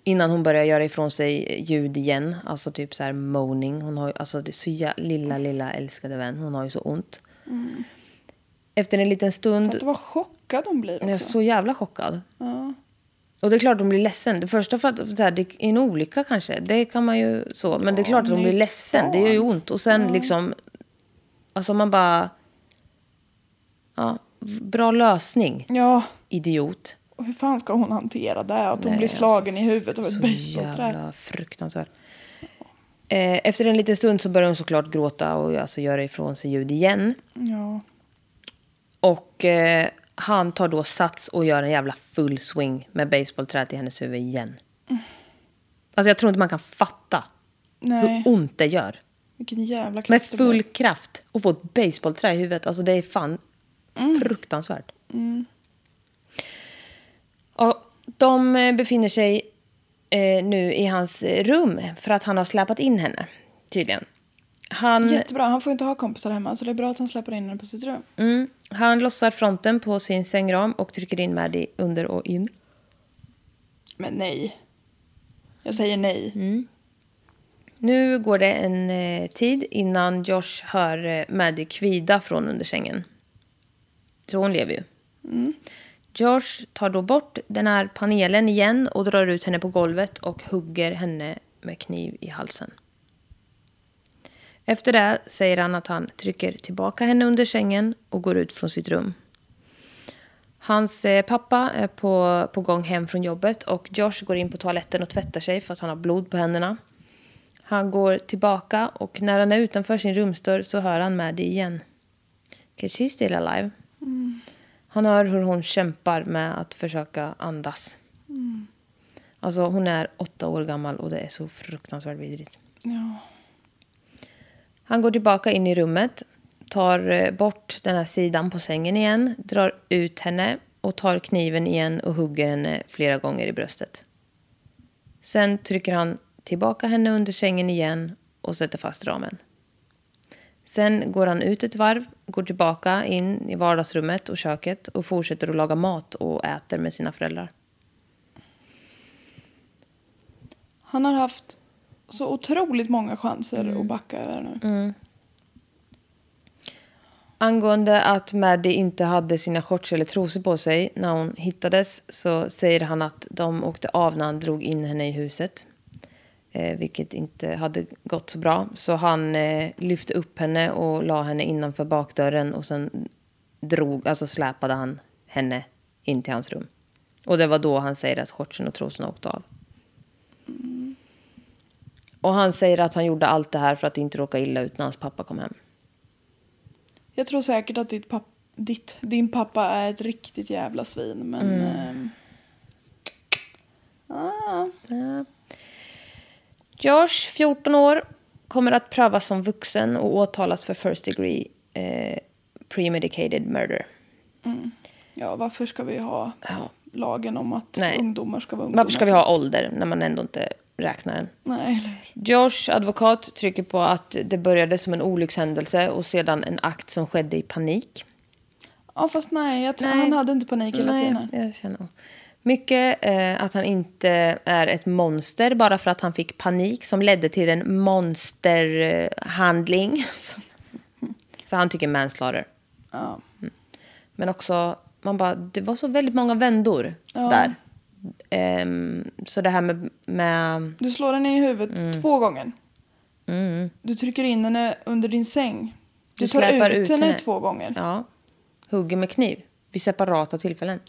[SPEAKER 1] innan hon börjar göra ifrån sig ljud igen. Alltså typ så här moaning. Hon har ju, alltså det är så jä- lilla, lilla älskade vän. Hon har ju så ont.
[SPEAKER 2] Mm.
[SPEAKER 1] Efter en liten stund.
[SPEAKER 2] Fattar vad chockad hon blir också.
[SPEAKER 1] Jag är så jävla chockad.
[SPEAKER 2] Ja.
[SPEAKER 1] Och det är klart de blir ledsen. Det första för att så här, det är en olycka kanske. Det kan man ju så. Men det är
[SPEAKER 2] Ja,
[SPEAKER 1] klart att de
[SPEAKER 2] men det är
[SPEAKER 1] blir
[SPEAKER 2] ju
[SPEAKER 1] ledsen. Det
[SPEAKER 2] barn.
[SPEAKER 1] gör ju ont. Och sen liksom. Alltså man bara. Ja, bra lösning.
[SPEAKER 2] ja.
[SPEAKER 1] Idiot.
[SPEAKER 2] Och hur fan ska hon hantera det? Att
[SPEAKER 1] Nej,
[SPEAKER 2] hon
[SPEAKER 1] alltså,
[SPEAKER 2] blir slagen i huvudet av ett
[SPEAKER 1] Så
[SPEAKER 2] basebollträ.
[SPEAKER 1] jävla fruktansvärt. Eh, efter en liten stund så börjar hon såklart gråta och alltså göra ifrån sig ljud igen.
[SPEAKER 2] Ja.
[SPEAKER 1] Och eh, han tar då sats och gör en jävla full swing med basebollträet i hennes huvud igen. Alltså jag tror inte man kan fatta
[SPEAKER 2] Nej.
[SPEAKER 1] hur ont det gör.
[SPEAKER 2] Vilken jävla
[SPEAKER 1] Med
[SPEAKER 2] kraft det
[SPEAKER 1] full
[SPEAKER 2] blir.
[SPEAKER 1] kraft och få ett basebollträ i huvudet. Alltså det är fan Fruktansvärt. Och de eh, befinner sig eh, nu i hans eh, rum för att han har släpat in henne, tydligen. Han,
[SPEAKER 2] Jättebra, han får inte ha kompisar hemma så det är bra att han släpper in henne på sitt rum.
[SPEAKER 1] mm, han lossar fronten på sin sängram och trycker in Maddie under och in.
[SPEAKER 2] Men nej. Jag säger nej.
[SPEAKER 1] Mm. Nu går det en eh, tid innan Josh hör eh, Maddie kvida från under sängen. Så hon lever ju. Josh tar då bort den här panelen igen och drar ut henne på golvet och hugger henne med kniv i halsen. Efter det säger han att han trycker tillbaka henne under sängen och går ut från sitt rum. Hans eh, pappa är på, på gång hem från jobbet och Josh går in på toaletten och tvättar sig för att han har blod på händerna. Han går tillbaka och när han är utanför sin rumsdörr så hör han Maddie igen. 'Cause she's still alive. Han hör hur hon kämpar med att försöka andas. Alltså hon är åtta år gammal och det är så fruktansvärt vidrigt.
[SPEAKER 2] Ja.
[SPEAKER 1] Han går tillbaka in i rummet, tar eh, bort den här sidan på sängen igen, drar ut henne och tar kniven igen och hugger henne flera gånger i bröstet. Sen trycker han tillbaka henne under sängen igen och sätter fast ramen. Sen går han ut ett varv, går tillbaka in i vardagsrummet och köket och fortsätter att laga mat och äter med sina föräldrar.
[SPEAKER 2] Han har haft så otroligt många chanser
[SPEAKER 1] Mm.
[SPEAKER 2] att backa över nu.
[SPEAKER 1] Angående att Maddie inte hade sina shorts eller trosor på sig när hon hittades så säger han att de åkte av när han drog in henne i huset. Eh, vilket inte hade gått så bra. Så han eh, lyfte upp henne och la henne innanför bakdörren och sen drog, alltså släpade han henne in till hans rum. Och det var då han säger att shortsen och trosorna åkte av. Och han säger att han gjorde allt det här för att inte råka illa ut när hans pappa kom hem.
[SPEAKER 2] Jag tror säkert att ditt papp, ditt, din pappa är ett riktigt jävla svin men...
[SPEAKER 1] Mm.
[SPEAKER 2] ehm, ah,
[SPEAKER 1] Josh, 14 år, kommer att prövas som vuxen och åtalas för first degree eh, premedicated murder.
[SPEAKER 2] ja, varför ska vi ha
[SPEAKER 1] Ja.
[SPEAKER 2] lagen om att
[SPEAKER 1] Nej.
[SPEAKER 2] ungdomar ska vara ungdomar?
[SPEAKER 1] Varför ska vi ha ålder när man ändå inte räknar den?
[SPEAKER 2] Nej, eller hur?
[SPEAKER 1] Josh advokat trycker på att det började som en olyckshändelse och sedan en akt som skedde i panik.
[SPEAKER 2] Ja, fast nej, jag tror,
[SPEAKER 1] Nej.
[SPEAKER 2] han hade inte panik hela tiden.
[SPEAKER 1] jag känner Mycket eh, att han inte är ett monster bara för att han fick panik som ledde till en monsterhandling. Så, så han tycker manslaughter.
[SPEAKER 2] Ja.
[SPEAKER 1] Men också, man bara, det var så väldigt många vändor
[SPEAKER 2] Ja.
[SPEAKER 1] där. Ehm, så det här med, med...
[SPEAKER 2] Du slår henne i huvudet
[SPEAKER 1] Mm.
[SPEAKER 2] två gånger. Du trycker in henne under din säng. Du,
[SPEAKER 1] Du
[SPEAKER 2] tar ut,
[SPEAKER 1] släpar ut
[SPEAKER 2] henne,
[SPEAKER 1] henne.
[SPEAKER 2] två gånger. Ja.
[SPEAKER 1] Ja, hugger med kniv vid separata tillfällen.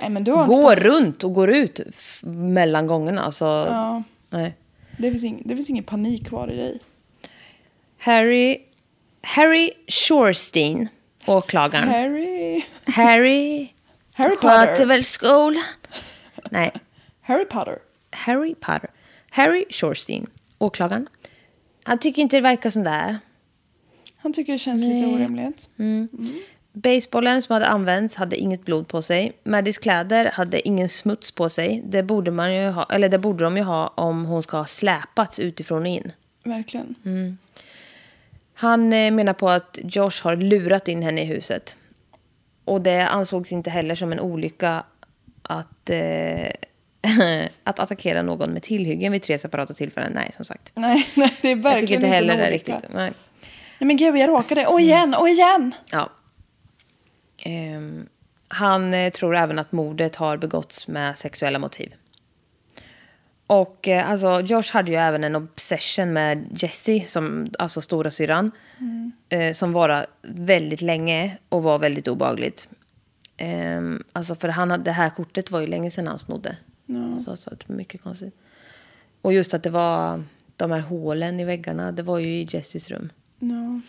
[SPEAKER 2] Nej, men du har inte
[SPEAKER 1] Mm. Går runt och går ut f- mellan gångerna. Alltså,
[SPEAKER 2] Ja,
[SPEAKER 1] nej.
[SPEAKER 2] det finns, ing, det finns ingen panik kvar i dig.
[SPEAKER 1] Harry, Harry Shorestein, åklagaren.
[SPEAKER 2] Harry...
[SPEAKER 1] Harry
[SPEAKER 2] Harry
[SPEAKER 3] Sköter
[SPEAKER 2] Potter.
[SPEAKER 3] väl skolan?
[SPEAKER 1] nej,
[SPEAKER 2] Harry Potter.
[SPEAKER 1] Harry Potter. Harry Shorestein, åklagaren. Han tycker inte det verkar som det är.
[SPEAKER 2] Han tycker det känns lite orimligt.
[SPEAKER 1] Mm. Basebollen som hade använts hade inget blod på sig. Maddies kläder hade ingen smuts på sig. Det borde, man ju ha, eller det borde de ju ha om hon ska ha släpats utifrån och in.
[SPEAKER 2] Verkligen.
[SPEAKER 1] Mm. Han eh, menar på att Josh har lurat in henne i huset. Och det ansågs inte heller som en olycka att, eh, att attackera någon med tillhyggen vid tre separata tillfällen. Nej, som sagt.
[SPEAKER 2] Nej, nej, det är verkligen
[SPEAKER 1] Jag tycker inte heller det
[SPEAKER 2] en
[SPEAKER 1] är
[SPEAKER 2] olycka.
[SPEAKER 1] riktigt. Nej.
[SPEAKER 2] Nej men gud, jag råkade. Och igen, och igen!
[SPEAKER 1] Ja. Ehm, han eh, tror även att mordet har begåtts med sexuella motiv. Och eh, alltså, Josh hade ju även en obsession med Jessie, som, alltså stora syran. Eh, som varade väldigt länge och var väldigt obagligt. Ehm, alltså för han hade, det här kortet var ju länge sedan han snodde.
[SPEAKER 2] Mm.
[SPEAKER 1] Så, så att det var mycket konstigt. Och just att det var de här hålen i väggarna, det var ju i Jessies rum.
[SPEAKER 2] Ja.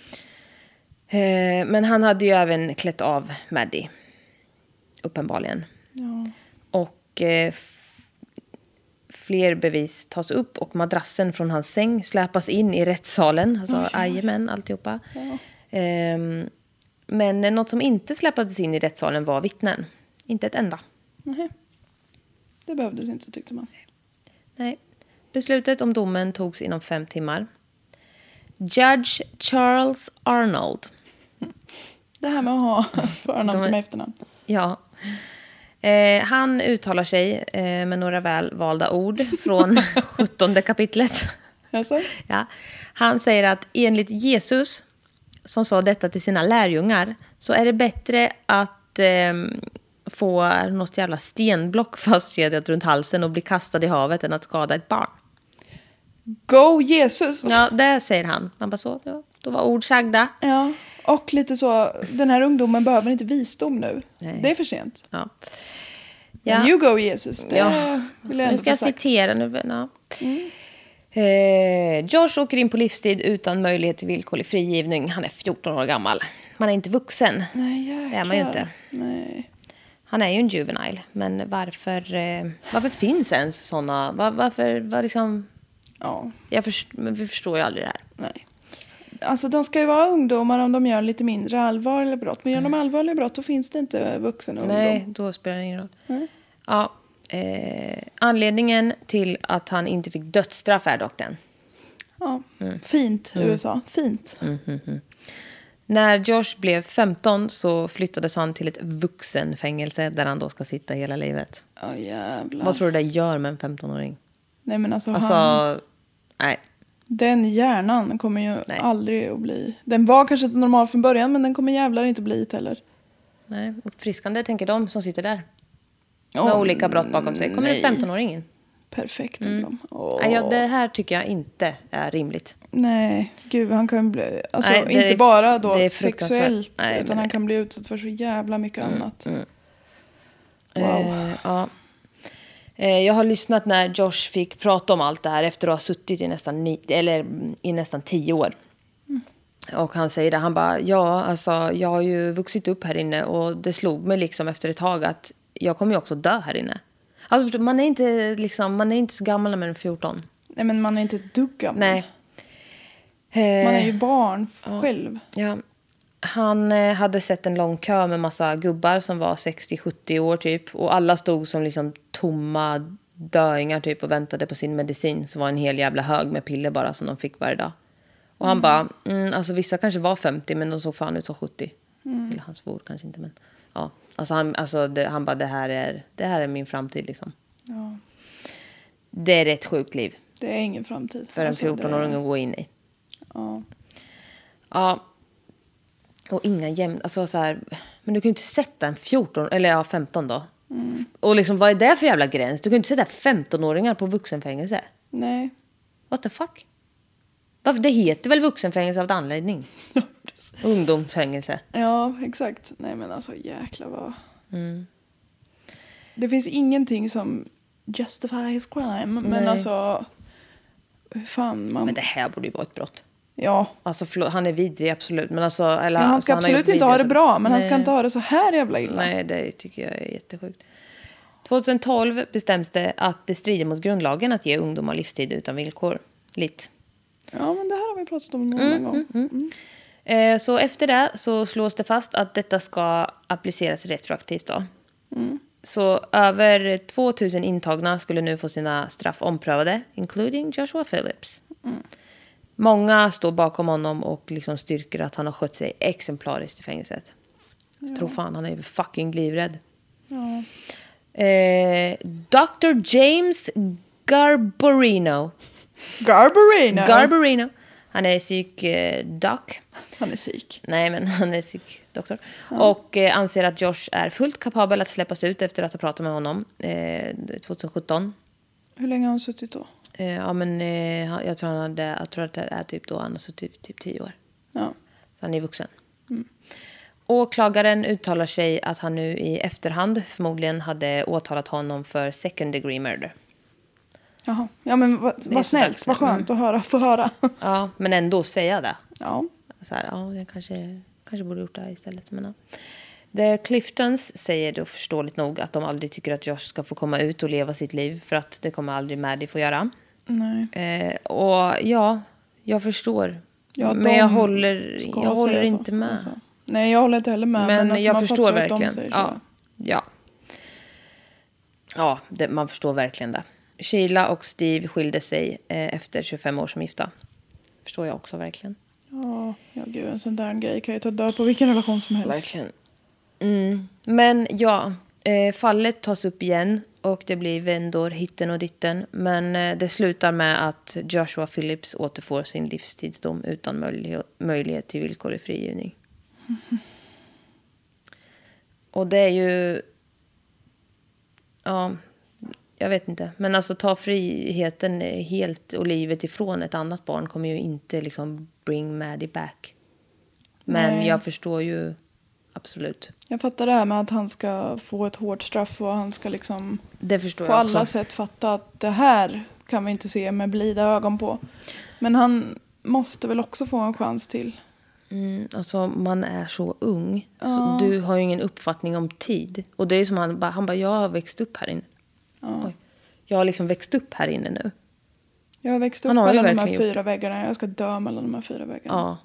[SPEAKER 1] Eh, Men han hade ju även klätt av Maddie. Uppenbarligen.
[SPEAKER 2] Ja.
[SPEAKER 1] Och eh, f- fler bevis tas upp och madrassen från hans säng släpas in i rättssalen. Alltså, jajamän, alltihopa.
[SPEAKER 2] Ja.
[SPEAKER 1] Ehm, Men eh, något som inte släpades in i rättssalen var vittnen. Inte ett enda.
[SPEAKER 2] Nej. Det behövdes inte tyckte man.
[SPEAKER 1] Nej. Beslutet om domen togs inom fem timmar. Judge Charles Arnold.
[SPEAKER 2] Det här med att ha förnamn
[SPEAKER 1] De är-
[SPEAKER 2] som efternamn.
[SPEAKER 1] Ja. Eh, han uttalar sig eh, med några välvalda ord från 17 kapitlet.
[SPEAKER 2] Jaså?
[SPEAKER 1] Ja. Han säger att enligt Jesus, som sa detta till sina lärjungar, så är det bättre att ehm, få något jävla stenblock fastkedjat runt halsen och bli kastad i havet än att skada ett barn.
[SPEAKER 2] Go Jesus!
[SPEAKER 1] Ja, det säger han. Man bara så, ja, då var ord sagda.
[SPEAKER 2] Ja, och lite så, den här ungdomen behöver inte visdom nu.
[SPEAKER 1] Nej.
[SPEAKER 2] Det är för sent.
[SPEAKER 1] Ja.
[SPEAKER 2] Men You go Jesus, det
[SPEAKER 1] Ja.
[SPEAKER 2] Eh, vill jag
[SPEAKER 1] nu
[SPEAKER 2] ändå
[SPEAKER 1] ska
[SPEAKER 2] få
[SPEAKER 1] jag
[SPEAKER 2] sagt.
[SPEAKER 1] citera. Nu, ja. eh, Josh åker in på livstid utan möjlighet till villkorlig frigivning. Han är 14 år gammal. Man är inte vuxen.
[SPEAKER 2] Nej,
[SPEAKER 1] Det är man ju
[SPEAKER 2] jäklar.
[SPEAKER 1] inte.
[SPEAKER 2] Nej.
[SPEAKER 1] Han är ju en juvenile, men varför, eh, varför finns ens såna? Var, varför, var liksom,
[SPEAKER 2] Ja,
[SPEAKER 1] jag förstår, men vi förstår ju aldrig det här.
[SPEAKER 2] nej. Alltså de ska ju vara ungdomar om de gör lite mindre allvarliga brott. Men gör de allvarliga brott då finns det inte vuxen ungdom.
[SPEAKER 1] Mm. Nej, då spelar det ingen roll.
[SPEAKER 2] Nej.
[SPEAKER 1] Ja, eh, anledningen till att han inte fick dödsstraff är dock den.
[SPEAKER 2] Ja.
[SPEAKER 1] Mm.
[SPEAKER 2] Fint USA, fint.
[SPEAKER 1] Mm-hmm. När Josh blev 15 så flyttades han till ett vuxenfängelse där han då ska sitta hela livet.
[SPEAKER 2] Ja jävlar.
[SPEAKER 1] Vad tror du det gör med en 15-åring?
[SPEAKER 2] Nej men alltså,
[SPEAKER 1] Alltså,
[SPEAKER 2] Han,
[SPEAKER 1] nej.
[SPEAKER 2] den hjärnan kommer ju
[SPEAKER 1] Nej.
[SPEAKER 2] aldrig att bli. Den var kanske inte normal från början men den kommer jävlar inte bli det heller.
[SPEAKER 1] nej. Uppfriskande tänker de som sitter där. Med olika brott bakom sig. Kommer
[SPEAKER 2] nej.
[SPEAKER 1] en 15-åring in?
[SPEAKER 2] Perfekt ungdom. Åh.
[SPEAKER 1] Nej, ja, det här tycker jag inte är rimligt.
[SPEAKER 2] Nej, gud han kan bli, alltså
[SPEAKER 1] Nej, det
[SPEAKER 2] inte
[SPEAKER 1] är-
[SPEAKER 2] bara då
[SPEAKER 1] det är fruktansvärt.
[SPEAKER 2] sexuellt
[SPEAKER 1] Nej, Mm, men
[SPEAKER 2] utan han
[SPEAKER 1] det-
[SPEAKER 2] kan bli utsatt för så jävla mycket annat. Wow.
[SPEAKER 1] Eh, ja. Eh, jag har lyssnat när Josh fick prata om allt det här efter att ha suttit i nästan, ni- eller, mm, i nästan tio år.
[SPEAKER 2] Mm.
[SPEAKER 1] Och han säger det, han bara, ja, alltså jag har ju vuxit upp här inne och det slog mig liksom efter ett tag att jag kommer ju också dö här inne. Alltså förstår, du, man är inte liksom, man är inte så gammal när man är 14.
[SPEAKER 2] Nej men man är inte ett dugg gammal.
[SPEAKER 1] Nej.
[SPEAKER 2] Man är
[SPEAKER 1] Eh,
[SPEAKER 2] ju barn f- själv.
[SPEAKER 1] Ja. Han eh, hade sett en lång kö med massa gubbar som var 60-70 år typ. Och alla stod som liksom tomma döingar typ och väntade på sin medicin. Som var en hel jävla hög med piller bara som de fick varje dag. Och han bara, mm, alltså vissa kanske var 50 men de såg fan ut som 70.
[SPEAKER 2] Mm.
[SPEAKER 1] Eller han svor kanske inte men. Ja. Alltså han, alltså det, han bara, det här, är, det här är min framtid liksom.
[SPEAKER 2] Ja,
[SPEAKER 1] Det är ett sjukt liv
[SPEAKER 2] det är ingen framtid.
[SPEAKER 1] för en
[SPEAKER 2] Alltså, det-
[SPEAKER 1] 14-åring att gå in i.
[SPEAKER 2] Ja.
[SPEAKER 1] Ja. Och inga jämn... Alltså så här, men du kan ju inte sätta en 14, eller ja 15 då.
[SPEAKER 2] Mm.
[SPEAKER 1] Och liksom vad är det för jävla gräns? Du kan ju inte sätta 15-åringar på vuxenfängelse.
[SPEAKER 2] Nej.
[SPEAKER 1] What the fuck? Varför? Det heter väl vuxenfängelse av en anledning? Ungdomsfängelse.
[SPEAKER 2] Ja, exakt. Nej men alltså jäklar vad...
[SPEAKER 1] Mm.
[SPEAKER 2] Det finns ingenting som justifies crime. Men
[SPEAKER 1] Nej.
[SPEAKER 2] alltså... Hur fan man...
[SPEAKER 1] Men det här borde ju vara ett brott.
[SPEAKER 2] Ja.
[SPEAKER 1] Alltså förlåt, han är vidrig absolut. Men alltså, eller,
[SPEAKER 2] Ja, han
[SPEAKER 1] alltså,
[SPEAKER 2] ska
[SPEAKER 1] har gjort
[SPEAKER 2] absolut inte ha det
[SPEAKER 1] vidriga
[SPEAKER 2] bra, men han
[SPEAKER 1] Nej.
[SPEAKER 2] ska inte ha det så här jävla illa.
[SPEAKER 1] Nej, det tycker jag är jättesjukt. 2012 bestäms det att det strider mot grundlagen att ge ungdomar livstid utan villkor. Lite.
[SPEAKER 2] Ja, men det här har vi pratat om någon
[SPEAKER 1] Mm,
[SPEAKER 2] annan gång. Mm,
[SPEAKER 1] Eh, Så efter det så slås det fast att detta ska appliceras retroaktivt. Då. Så över 2000 intagna skulle nu få sina straff omprövade, including Joshua Phillips. Många står bakom honom och liksom styrker att han har skött sig exemplariskt i fängelset. Jag tror fan han är ju fucking livrädd.
[SPEAKER 2] Ja.
[SPEAKER 1] Eh, Dr. James Garbarino.
[SPEAKER 2] Garbarino!
[SPEAKER 1] Garbarino. Han är eh, psykdoc.
[SPEAKER 2] han är psyk.
[SPEAKER 1] Nej, men han är psykdoktor. Och eh, anser att Josh är fullt kapabel att släppas ut efter att ha pratat med honom eh, 2017.
[SPEAKER 2] Hur länge har han suttit då?
[SPEAKER 1] Eh, ja, men eh, han- jag, tror han hade, jag tror att det är typ då han har suttit typ 10 år.
[SPEAKER 2] Ja.
[SPEAKER 1] Så han är vuxen. Åklagaren uttalar sig att han nu i efterhand förmodligen hade åtalat honom för second degree murder.
[SPEAKER 2] Jaha. Ja, men vad
[SPEAKER 1] är
[SPEAKER 2] vad
[SPEAKER 1] så
[SPEAKER 2] snällt.
[SPEAKER 1] dags
[SPEAKER 2] Vad
[SPEAKER 1] nu. Mm.
[SPEAKER 2] skönt att höra, få höra.
[SPEAKER 1] Ja, men ändå säga det.
[SPEAKER 2] ja.
[SPEAKER 1] Så här, ja, jag kanske, kanske borde gjort det här istället. Men, ja. The Cliftons säger då förståeligt nog att de aldrig tycker att Josh ska få komma ut och leva sitt liv för att det kommer aldrig Maddie få göra.
[SPEAKER 2] Nej.
[SPEAKER 1] Eh, och ja, jag förstår.
[SPEAKER 2] Ja,
[SPEAKER 1] men
[SPEAKER 2] de
[SPEAKER 1] jag håller,
[SPEAKER 2] ska
[SPEAKER 1] jag håller
[SPEAKER 2] säga så.
[SPEAKER 1] inte med.
[SPEAKER 2] Alltså. Nej, jag håller inte heller med.
[SPEAKER 1] Men,
[SPEAKER 2] alltså,
[SPEAKER 1] jag
[SPEAKER 2] man
[SPEAKER 1] förstår
[SPEAKER 2] fattar att de
[SPEAKER 1] verkligen.
[SPEAKER 2] säger så.
[SPEAKER 1] ja. ja. ja det, man förstår verkligen det. Sheila och Steve skilde sig eh, efter 25 år som gifta. Förstår jag också verkligen.
[SPEAKER 2] Ja, ja gud, en sån där grej kan ju ta död på vilken relation som helst.
[SPEAKER 1] Verkligen. Mm. Men ja, eh, fallet tas upp igen och det blir vändor hitten och ditten. Men eh, det slutar med att Joshua Phillips återfår sin livstidsdom utan möjlighet, möjlighet till villkorlig frigivning. Och det är ju... Ja, jag vet inte. Men alltså ta friheten helt och livet ifrån ett annat barn kommer ju inte liksom bring Maddie back. Men
[SPEAKER 2] Nej.
[SPEAKER 1] jag förstår ju absolut.
[SPEAKER 2] Jag fattar det här med att han ska få ett hårt straff och han ska liksom
[SPEAKER 1] Det förstår
[SPEAKER 2] på
[SPEAKER 1] jag
[SPEAKER 2] alla
[SPEAKER 1] också.
[SPEAKER 2] sätt fatta att det här kan vi inte se med blida ögon på. Men han måste väl också få en chans till.
[SPEAKER 1] Mm, alltså man är så ung. Så du har ju ingen uppfattning om tid. Och det är ju som han bara, han bara, jag har växt upp här inne. Oj. Jag har liksom växt upp här inne nu.
[SPEAKER 2] Jag har växt upp
[SPEAKER 1] Han har ju
[SPEAKER 2] mellan de här
[SPEAKER 1] verkligen
[SPEAKER 2] fyra väggarna. Jag ska dö mellan de här fyra väggarna.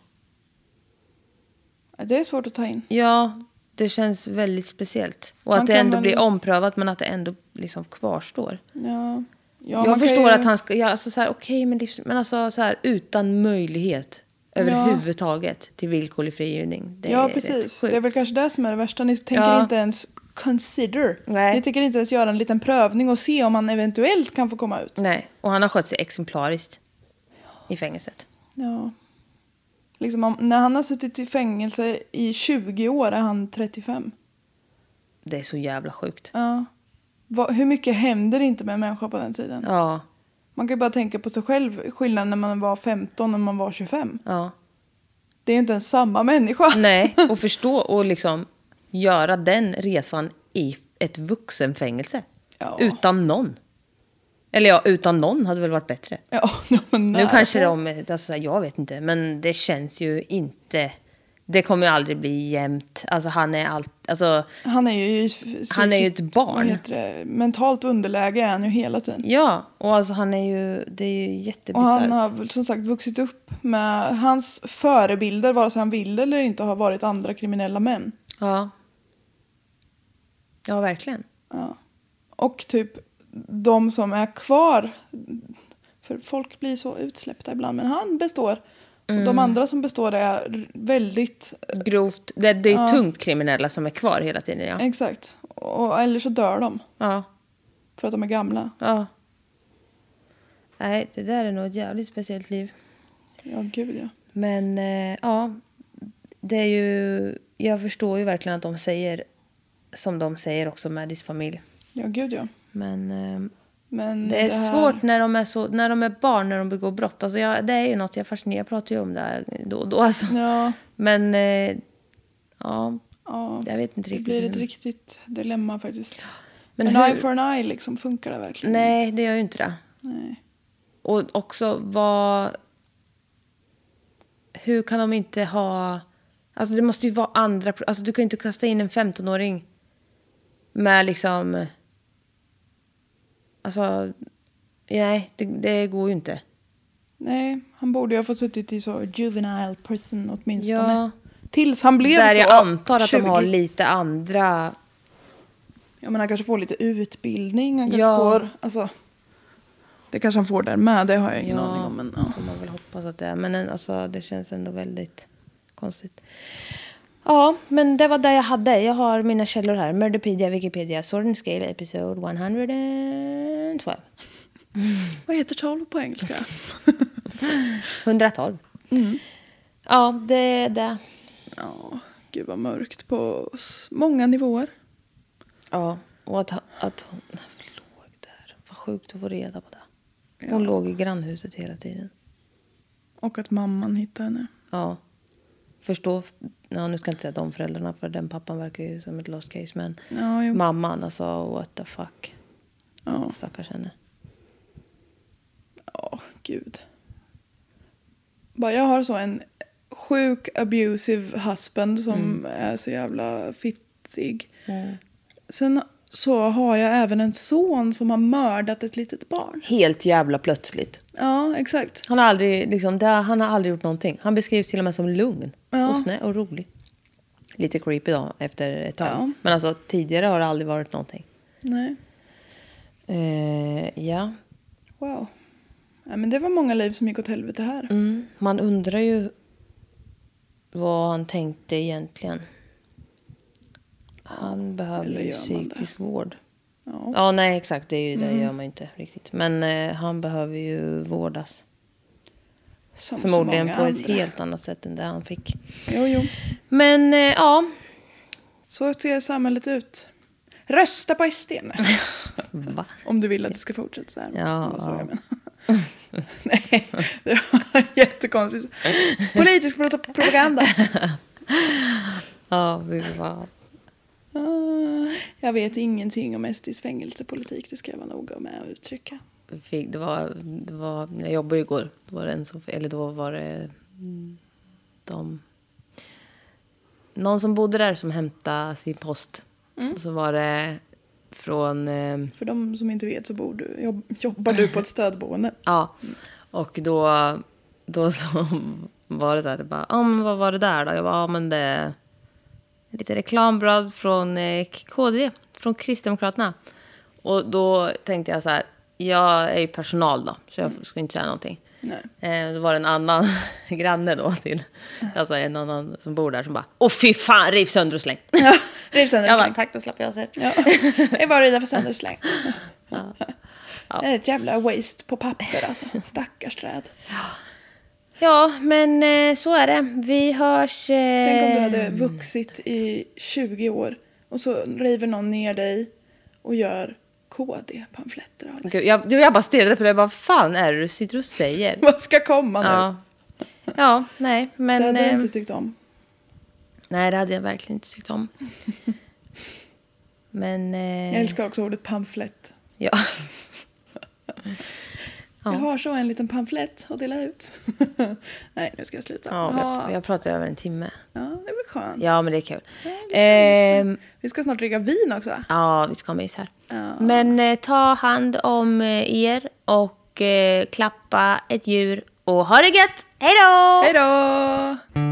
[SPEAKER 1] Ja.
[SPEAKER 2] Det är svårt att ta in.
[SPEAKER 1] ja, det känns väldigt speciellt. Och
[SPEAKER 2] Man
[SPEAKER 1] att det
[SPEAKER 2] kan
[SPEAKER 1] ändå
[SPEAKER 2] väl-
[SPEAKER 1] blir omprövat men att det ändå liksom kvarstår.
[SPEAKER 2] Ja. Ja, man
[SPEAKER 1] jag
[SPEAKER 2] kan
[SPEAKER 1] förstår
[SPEAKER 2] ju-
[SPEAKER 1] att han ska, ja, alltså så här, okej men, livs- men alltså så här utan möjlighet överhuvudtaget till villkorlig frigivning. Det är
[SPEAKER 2] Ja,
[SPEAKER 1] rätt
[SPEAKER 2] precis.
[SPEAKER 1] sjukt.
[SPEAKER 2] Det är väl kanske det som är det värsta. Ni tänker
[SPEAKER 1] Ja.
[SPEAKER 2] inte ens consider.
[SPEAKER 1] Nej.
[SPEAKER 2] Ni tänker inte ens göra en liten prövning och se om han eventuellt kan få komma ut.
[SPEAKER 1] Nej, och han har skött sig exemplariskt i fängelset.
[SPEAKER 2] Ja. Liksom om, när han har suttit i fängelse i 20 år är han 35.
[SPEAKER 1] Det är så jävla sjukt.
[SPEAKER 2] Ja. Va, hur mycket händer inte med en människa på den tiden?
[SPEAKER 1] Ja,
[SPEAKER 2] Man kan ju bara tänka på sig själv skillnaden när man var 15 och när man var 25.
[SPEAKER 1] ja.
[SPEAKER 2] Det är ju inte ens samma människa.
[SPEAKER 1] Nej, och förstå och liksom göra den resan i ett vuxenfängelse.
[SPEAKER 2] Ja.
[SPEAKER 1] Utan någon. Eller ja, utan någon hade väl varit bättre.
[SPEAKER 2] Ja, men
[SPEAKER 1] Nu
[SPEAKER 2] när?
[SPEAKER 1] kanske de, alltså, så här, jag vet inte, men det känns ju inte. Det kommer ju aldrig bli jämnt. Alltså han är allt, alltså
[SPEAKER 2] Han är ju i psykiskt-
[SPEAKER 1] Han är ju ett barn.
[SPEAKER 2] vad heter det? Mentalt underläge är han ju hela tiden.
[SPEAKER 1] ja, och alltså han är ju, det är ju
[SPEAKER 2] Och han
[SPEAKER 1] jättebisarrt.
[SPEAKER 2] har väl som sagt vuxit upp med hans förebilder, vare sig han vill eller inte, har varit andra kriminella män.
[SPEAKER 1] Ja. Ja, verkligen.
[SPEAKER 2] Ja. Och typ de som är kvar, för folk blir så utsläppta ibland, men han består. Och
[SPEAKER 1] Mm.
[SPEAKER 2] de andra som består är väldigt,
[SPEAKER 1] Grovt, det, det är tungt kriminella som är kvar hela tiden ja.
[SPEAKER 2] exakt, och, eller så dör de
[SPEAKER 1] Ja,
[SPEAKER 2] för att de är gamla.
[SPEAKER 1] ja. Nej, det där är nog ett jävligt speciellt liv.
[SPEAKER 2] Ja, gud ja.
[SPEAKER 1] Men eh, ja, det är ju... Jag förstår ju verkligen att de säger som de säger också med Maddies familj.
[SPEAKER 2] Ja, gud ja.
[SPEAKER 1] Men eh,
[SPEAKER 2] Men
[SPEAKER 1] det är
[SPEAKER 2] här-
[SPEAKER 1] svårt när de är, så, när de är barn, när de begår brott. Alltså jag, det är ju något jag fascinerar. Jag pratar ju om det här då och då. Alltså.
[SPEAKER 2] Ja,
[SPEAKER 1] Men eh, ja,
[SPEAKER 2] ja.
[SPEAKER 1] jag vet inte
[SPEAKER 2] Det
[SPEAKER 1] riktigt.
[SPEAKER 2] blir ett
[SPEAKER 1] hur-
[SPEAKER 2] riktigt dilemma faktiskt.
[SPEAKER 1] Men
[SPEAKER 2] Men
[SPEAKER 1] hur-
[SPEAKER 2] eye for an eye, liksom, funkar det verkligen?
[SPEAKER 1] Nej, det gör ju inte det.
[SPEAKER 2] Nej.
[SPEAKER 1] Och också vad... Hur kan de inte ha... Alltså det måste ju vara andra... Alltså du kan ju inte kasta in en 15-åring med liksom... Alltså... Nej, det, det går ju inte.
[SPEAKER 2] Nej, han borde ju ha fått suttit i så juvenile prison åtminstone.
[SPEAKER 1] Ja.
[SPEAKER 2] Tills han blev
[SPEAKER 1] Där
[SPEAKER 2] så
[SPEAKER 1] jag antar att
[SPEAKER 2] 20.
[SPEAKER 1] de har lite andra...
[SPEAKER 2] Ja, men han kanske får lite utbildning. Han kanske
[SPEAKER 1] Ja.
[SPEAKER 2] får, alltså, det kanske han får där med, det har jag ingen aning
[SPEAKER 1] Ja,
[SPEAKER 2] om. Men, ja.
[SPEAKER 1] får man väl hoppas att det är. Men en- alltså, det känns ändå väldigt konstigt. Ja, men det var det jag hade. Jag har mina källor här. Murderpedia, Wikipedia, Sword and Scale, episode 112.
[SPEAKER 2] Vad heter 12 på engelska? Mm.
[SPEAKER 1] 112. Ja, det är det.
[SPEAKER 2] ja, gud vad mörkt på s- många nivåer.
[SPEAKER 1] Ja, och att, att hon låg där. Vad sjukt att få reda på det. Hon låg i grannhuset hela tiden.
[SPEAKER 2] Och att mamman hittar henne.
[SPEAKER 1] Ja. Förstå, ja, nu ska jag inte säga de föräldrarna för den pappan verkar ju som ett lost case men
[SPEAKER 2] Ja, jo.
[SPEAKER 1] mamman alltså what the fuck.
[SPEAKER 2] Mm. Ja,
[SPEAKER 1] Stackars henne.
[SPEAKER 2] ja gud. Bara jag har så en sjuk abusive husband som
[SPEAKER 1] Mm.
[SPEAKER 2] är så jävla fittig. Sen så har jag även en son som har mördat ett litet barn.
[SPEAKER 1] Helt jävla plötsligt.
[SPEAKER 2] Ja, exakt.
[SPEAKER 1] Han har aldrig, liksom, där, han har aldrig gjort någonting. Han beskrivs till och med som lugn
[SPEAKER 2] Ja.
[SPEAKER 1] och snäll och rolig. lite creepy då efter ett tag.
[SPEAKER 2] Ja.
[SPEAKER 1] Men alltså tidigare har det aldrig varit någonting.
[SPEAKER 2] Nej.
[SPEAKER 1] Eh, ja.
[SPEAKER 2] Wow. Ja, men det var många liv som gick åt helvete här.
[SPEAKER 1] Mm. Man undrar ju vad han tänkte egentligen. Han behöver
[SPEAKER 2] eller
[SPEAKER 1] ju
[SPEAKER 2] gör man det?
[SPEAKER 1] psykisk vård.
[SPEAKER 2] Ja. Mm.
[SPEAKER 1] Ja, nej exakt. Det, är ju, det gör man ju inte riktigt. Men eh, han behöver ju vårdas.
[SPEAKER 2] Som så
[SPEAKER 1] Förmodligen på
[SPEAKER 2] många
[SPEAKER 1] ett
[SPEAKER 2] andra.
[SPEAKER 1] helt annat sätt än det han fick.
[SPEAKER 2] Jo, jo.
[SPEAKER 1] Men eh, ja.
[SPEAKER 2] Så ser samhället ut. Rösta på SD! Nej.
[SPEAKER 1] Va?
[SPEAKER 2] Om du vill att det ska fortsätta så här.
[SPEAKER 1] Ja.
[SPEAKER 2] Det var så jag menade. Nej, det var jättekonstigt. Politisk pro- propaganda.
[SPEAKER 1] Ja, vi var...
[SPEAKER 2] Ah, Jag vet ingenting om SDs fängelsepolitik, det ska jag vara noga med att uttrycka.
[SPEAKER 1] vi Fick, det var, det var, jag jobbade ju igår. Då var det en som, eller då var det mm, de, någon som bodde där som hämtade sin post.
[SPEAKER 2] Mm.
[SPEAKER 1] Och så var det från, eh,
[SPEAKER 2] För de som inte vet så bor du, jobb, jobbar du på ett stödboende.
[SPEAKER 1] ja, och då, då så var det så här, det bara, ah, men vad var det där då? Jag bara, ah, men det är lite reklamblad från eh, KD, från Kristdemokraterna. Och då tänkte jag så här, jag är ju personal då, så jag ska inte säga någonting.
[SPEAKER 2] Nej.
[SPEAKER 1] Eh, Då var det en annan granne då till, alltså en annan som bor där som bara Åh fy fan, riv sönder och släng!
[SPEAKER 2] Riv sönder och
[SPEAKER 1] Jag bara,
[SPEAKER 2] släng.
[SPEAKER 1] tack då slapp jag se.
[SPEAKER 2] Ja. Det är bara att rida för sönder och släng.
[SPEAKER 1] Ja.
[SPEAKER 2] Det är ett jävla waste på papper alltså. Stackars träd.
[SPEAKER 1] Ja, men eh, så är det. Vi hörs... eh,
[SPEAKER 2] Tänk om du hade vuxit i 20 år och så river någon ner dig och gör KD-pamfletter av dig.
[SPEAKER 1] Gud, jag, du, jag bara stirrade på det. Jag bara, fan är det du sitter och säger?
[SPEAKER 2] Vad ska komma nu?
[SPEAKER 1] Ja. ja, nej,
[SPEAKER 2] det
[SPEAKER 1] men...
[SPEAKER 2] hade du
[SPEAKER 1] eh,
[SPEAKER 2] inte tyckt om.
[SPEAKER 1] Nej, det hade jag verkligen inte tyckt om. Men... eh,
[SPEAKER 2] Jag älskar också ordet pamflett.
[SPEAKER 1] Ja. Ja.
[SPEAKER 2] Jag har så en liten pamflett att dela ut. Nej, nu ska jag sluta.
[SPEAKER 1] ja, vi har-
[SPEAKER 2] ja.
[SPEAKER 1] vi har pratat över en timme.
[SPEAKER 2] ja det blir skönt.
[SPEAKER 1] Ja, men det är kul.
[SPEAKER 2] det är
[SPEAKER 1] Ehm,
[SPEAKER 2] Vi ska snart dricka vin också. va?
[SPEAKER 1] Ja, vi ska ha mys här.
[SPEAKER 2] Ja.
[SPEAKER 1] Men eh, ta hand om eh, er och eh, klappa ett djur och ha det gött! Hej då!
[SPEAKER 2] Hej då!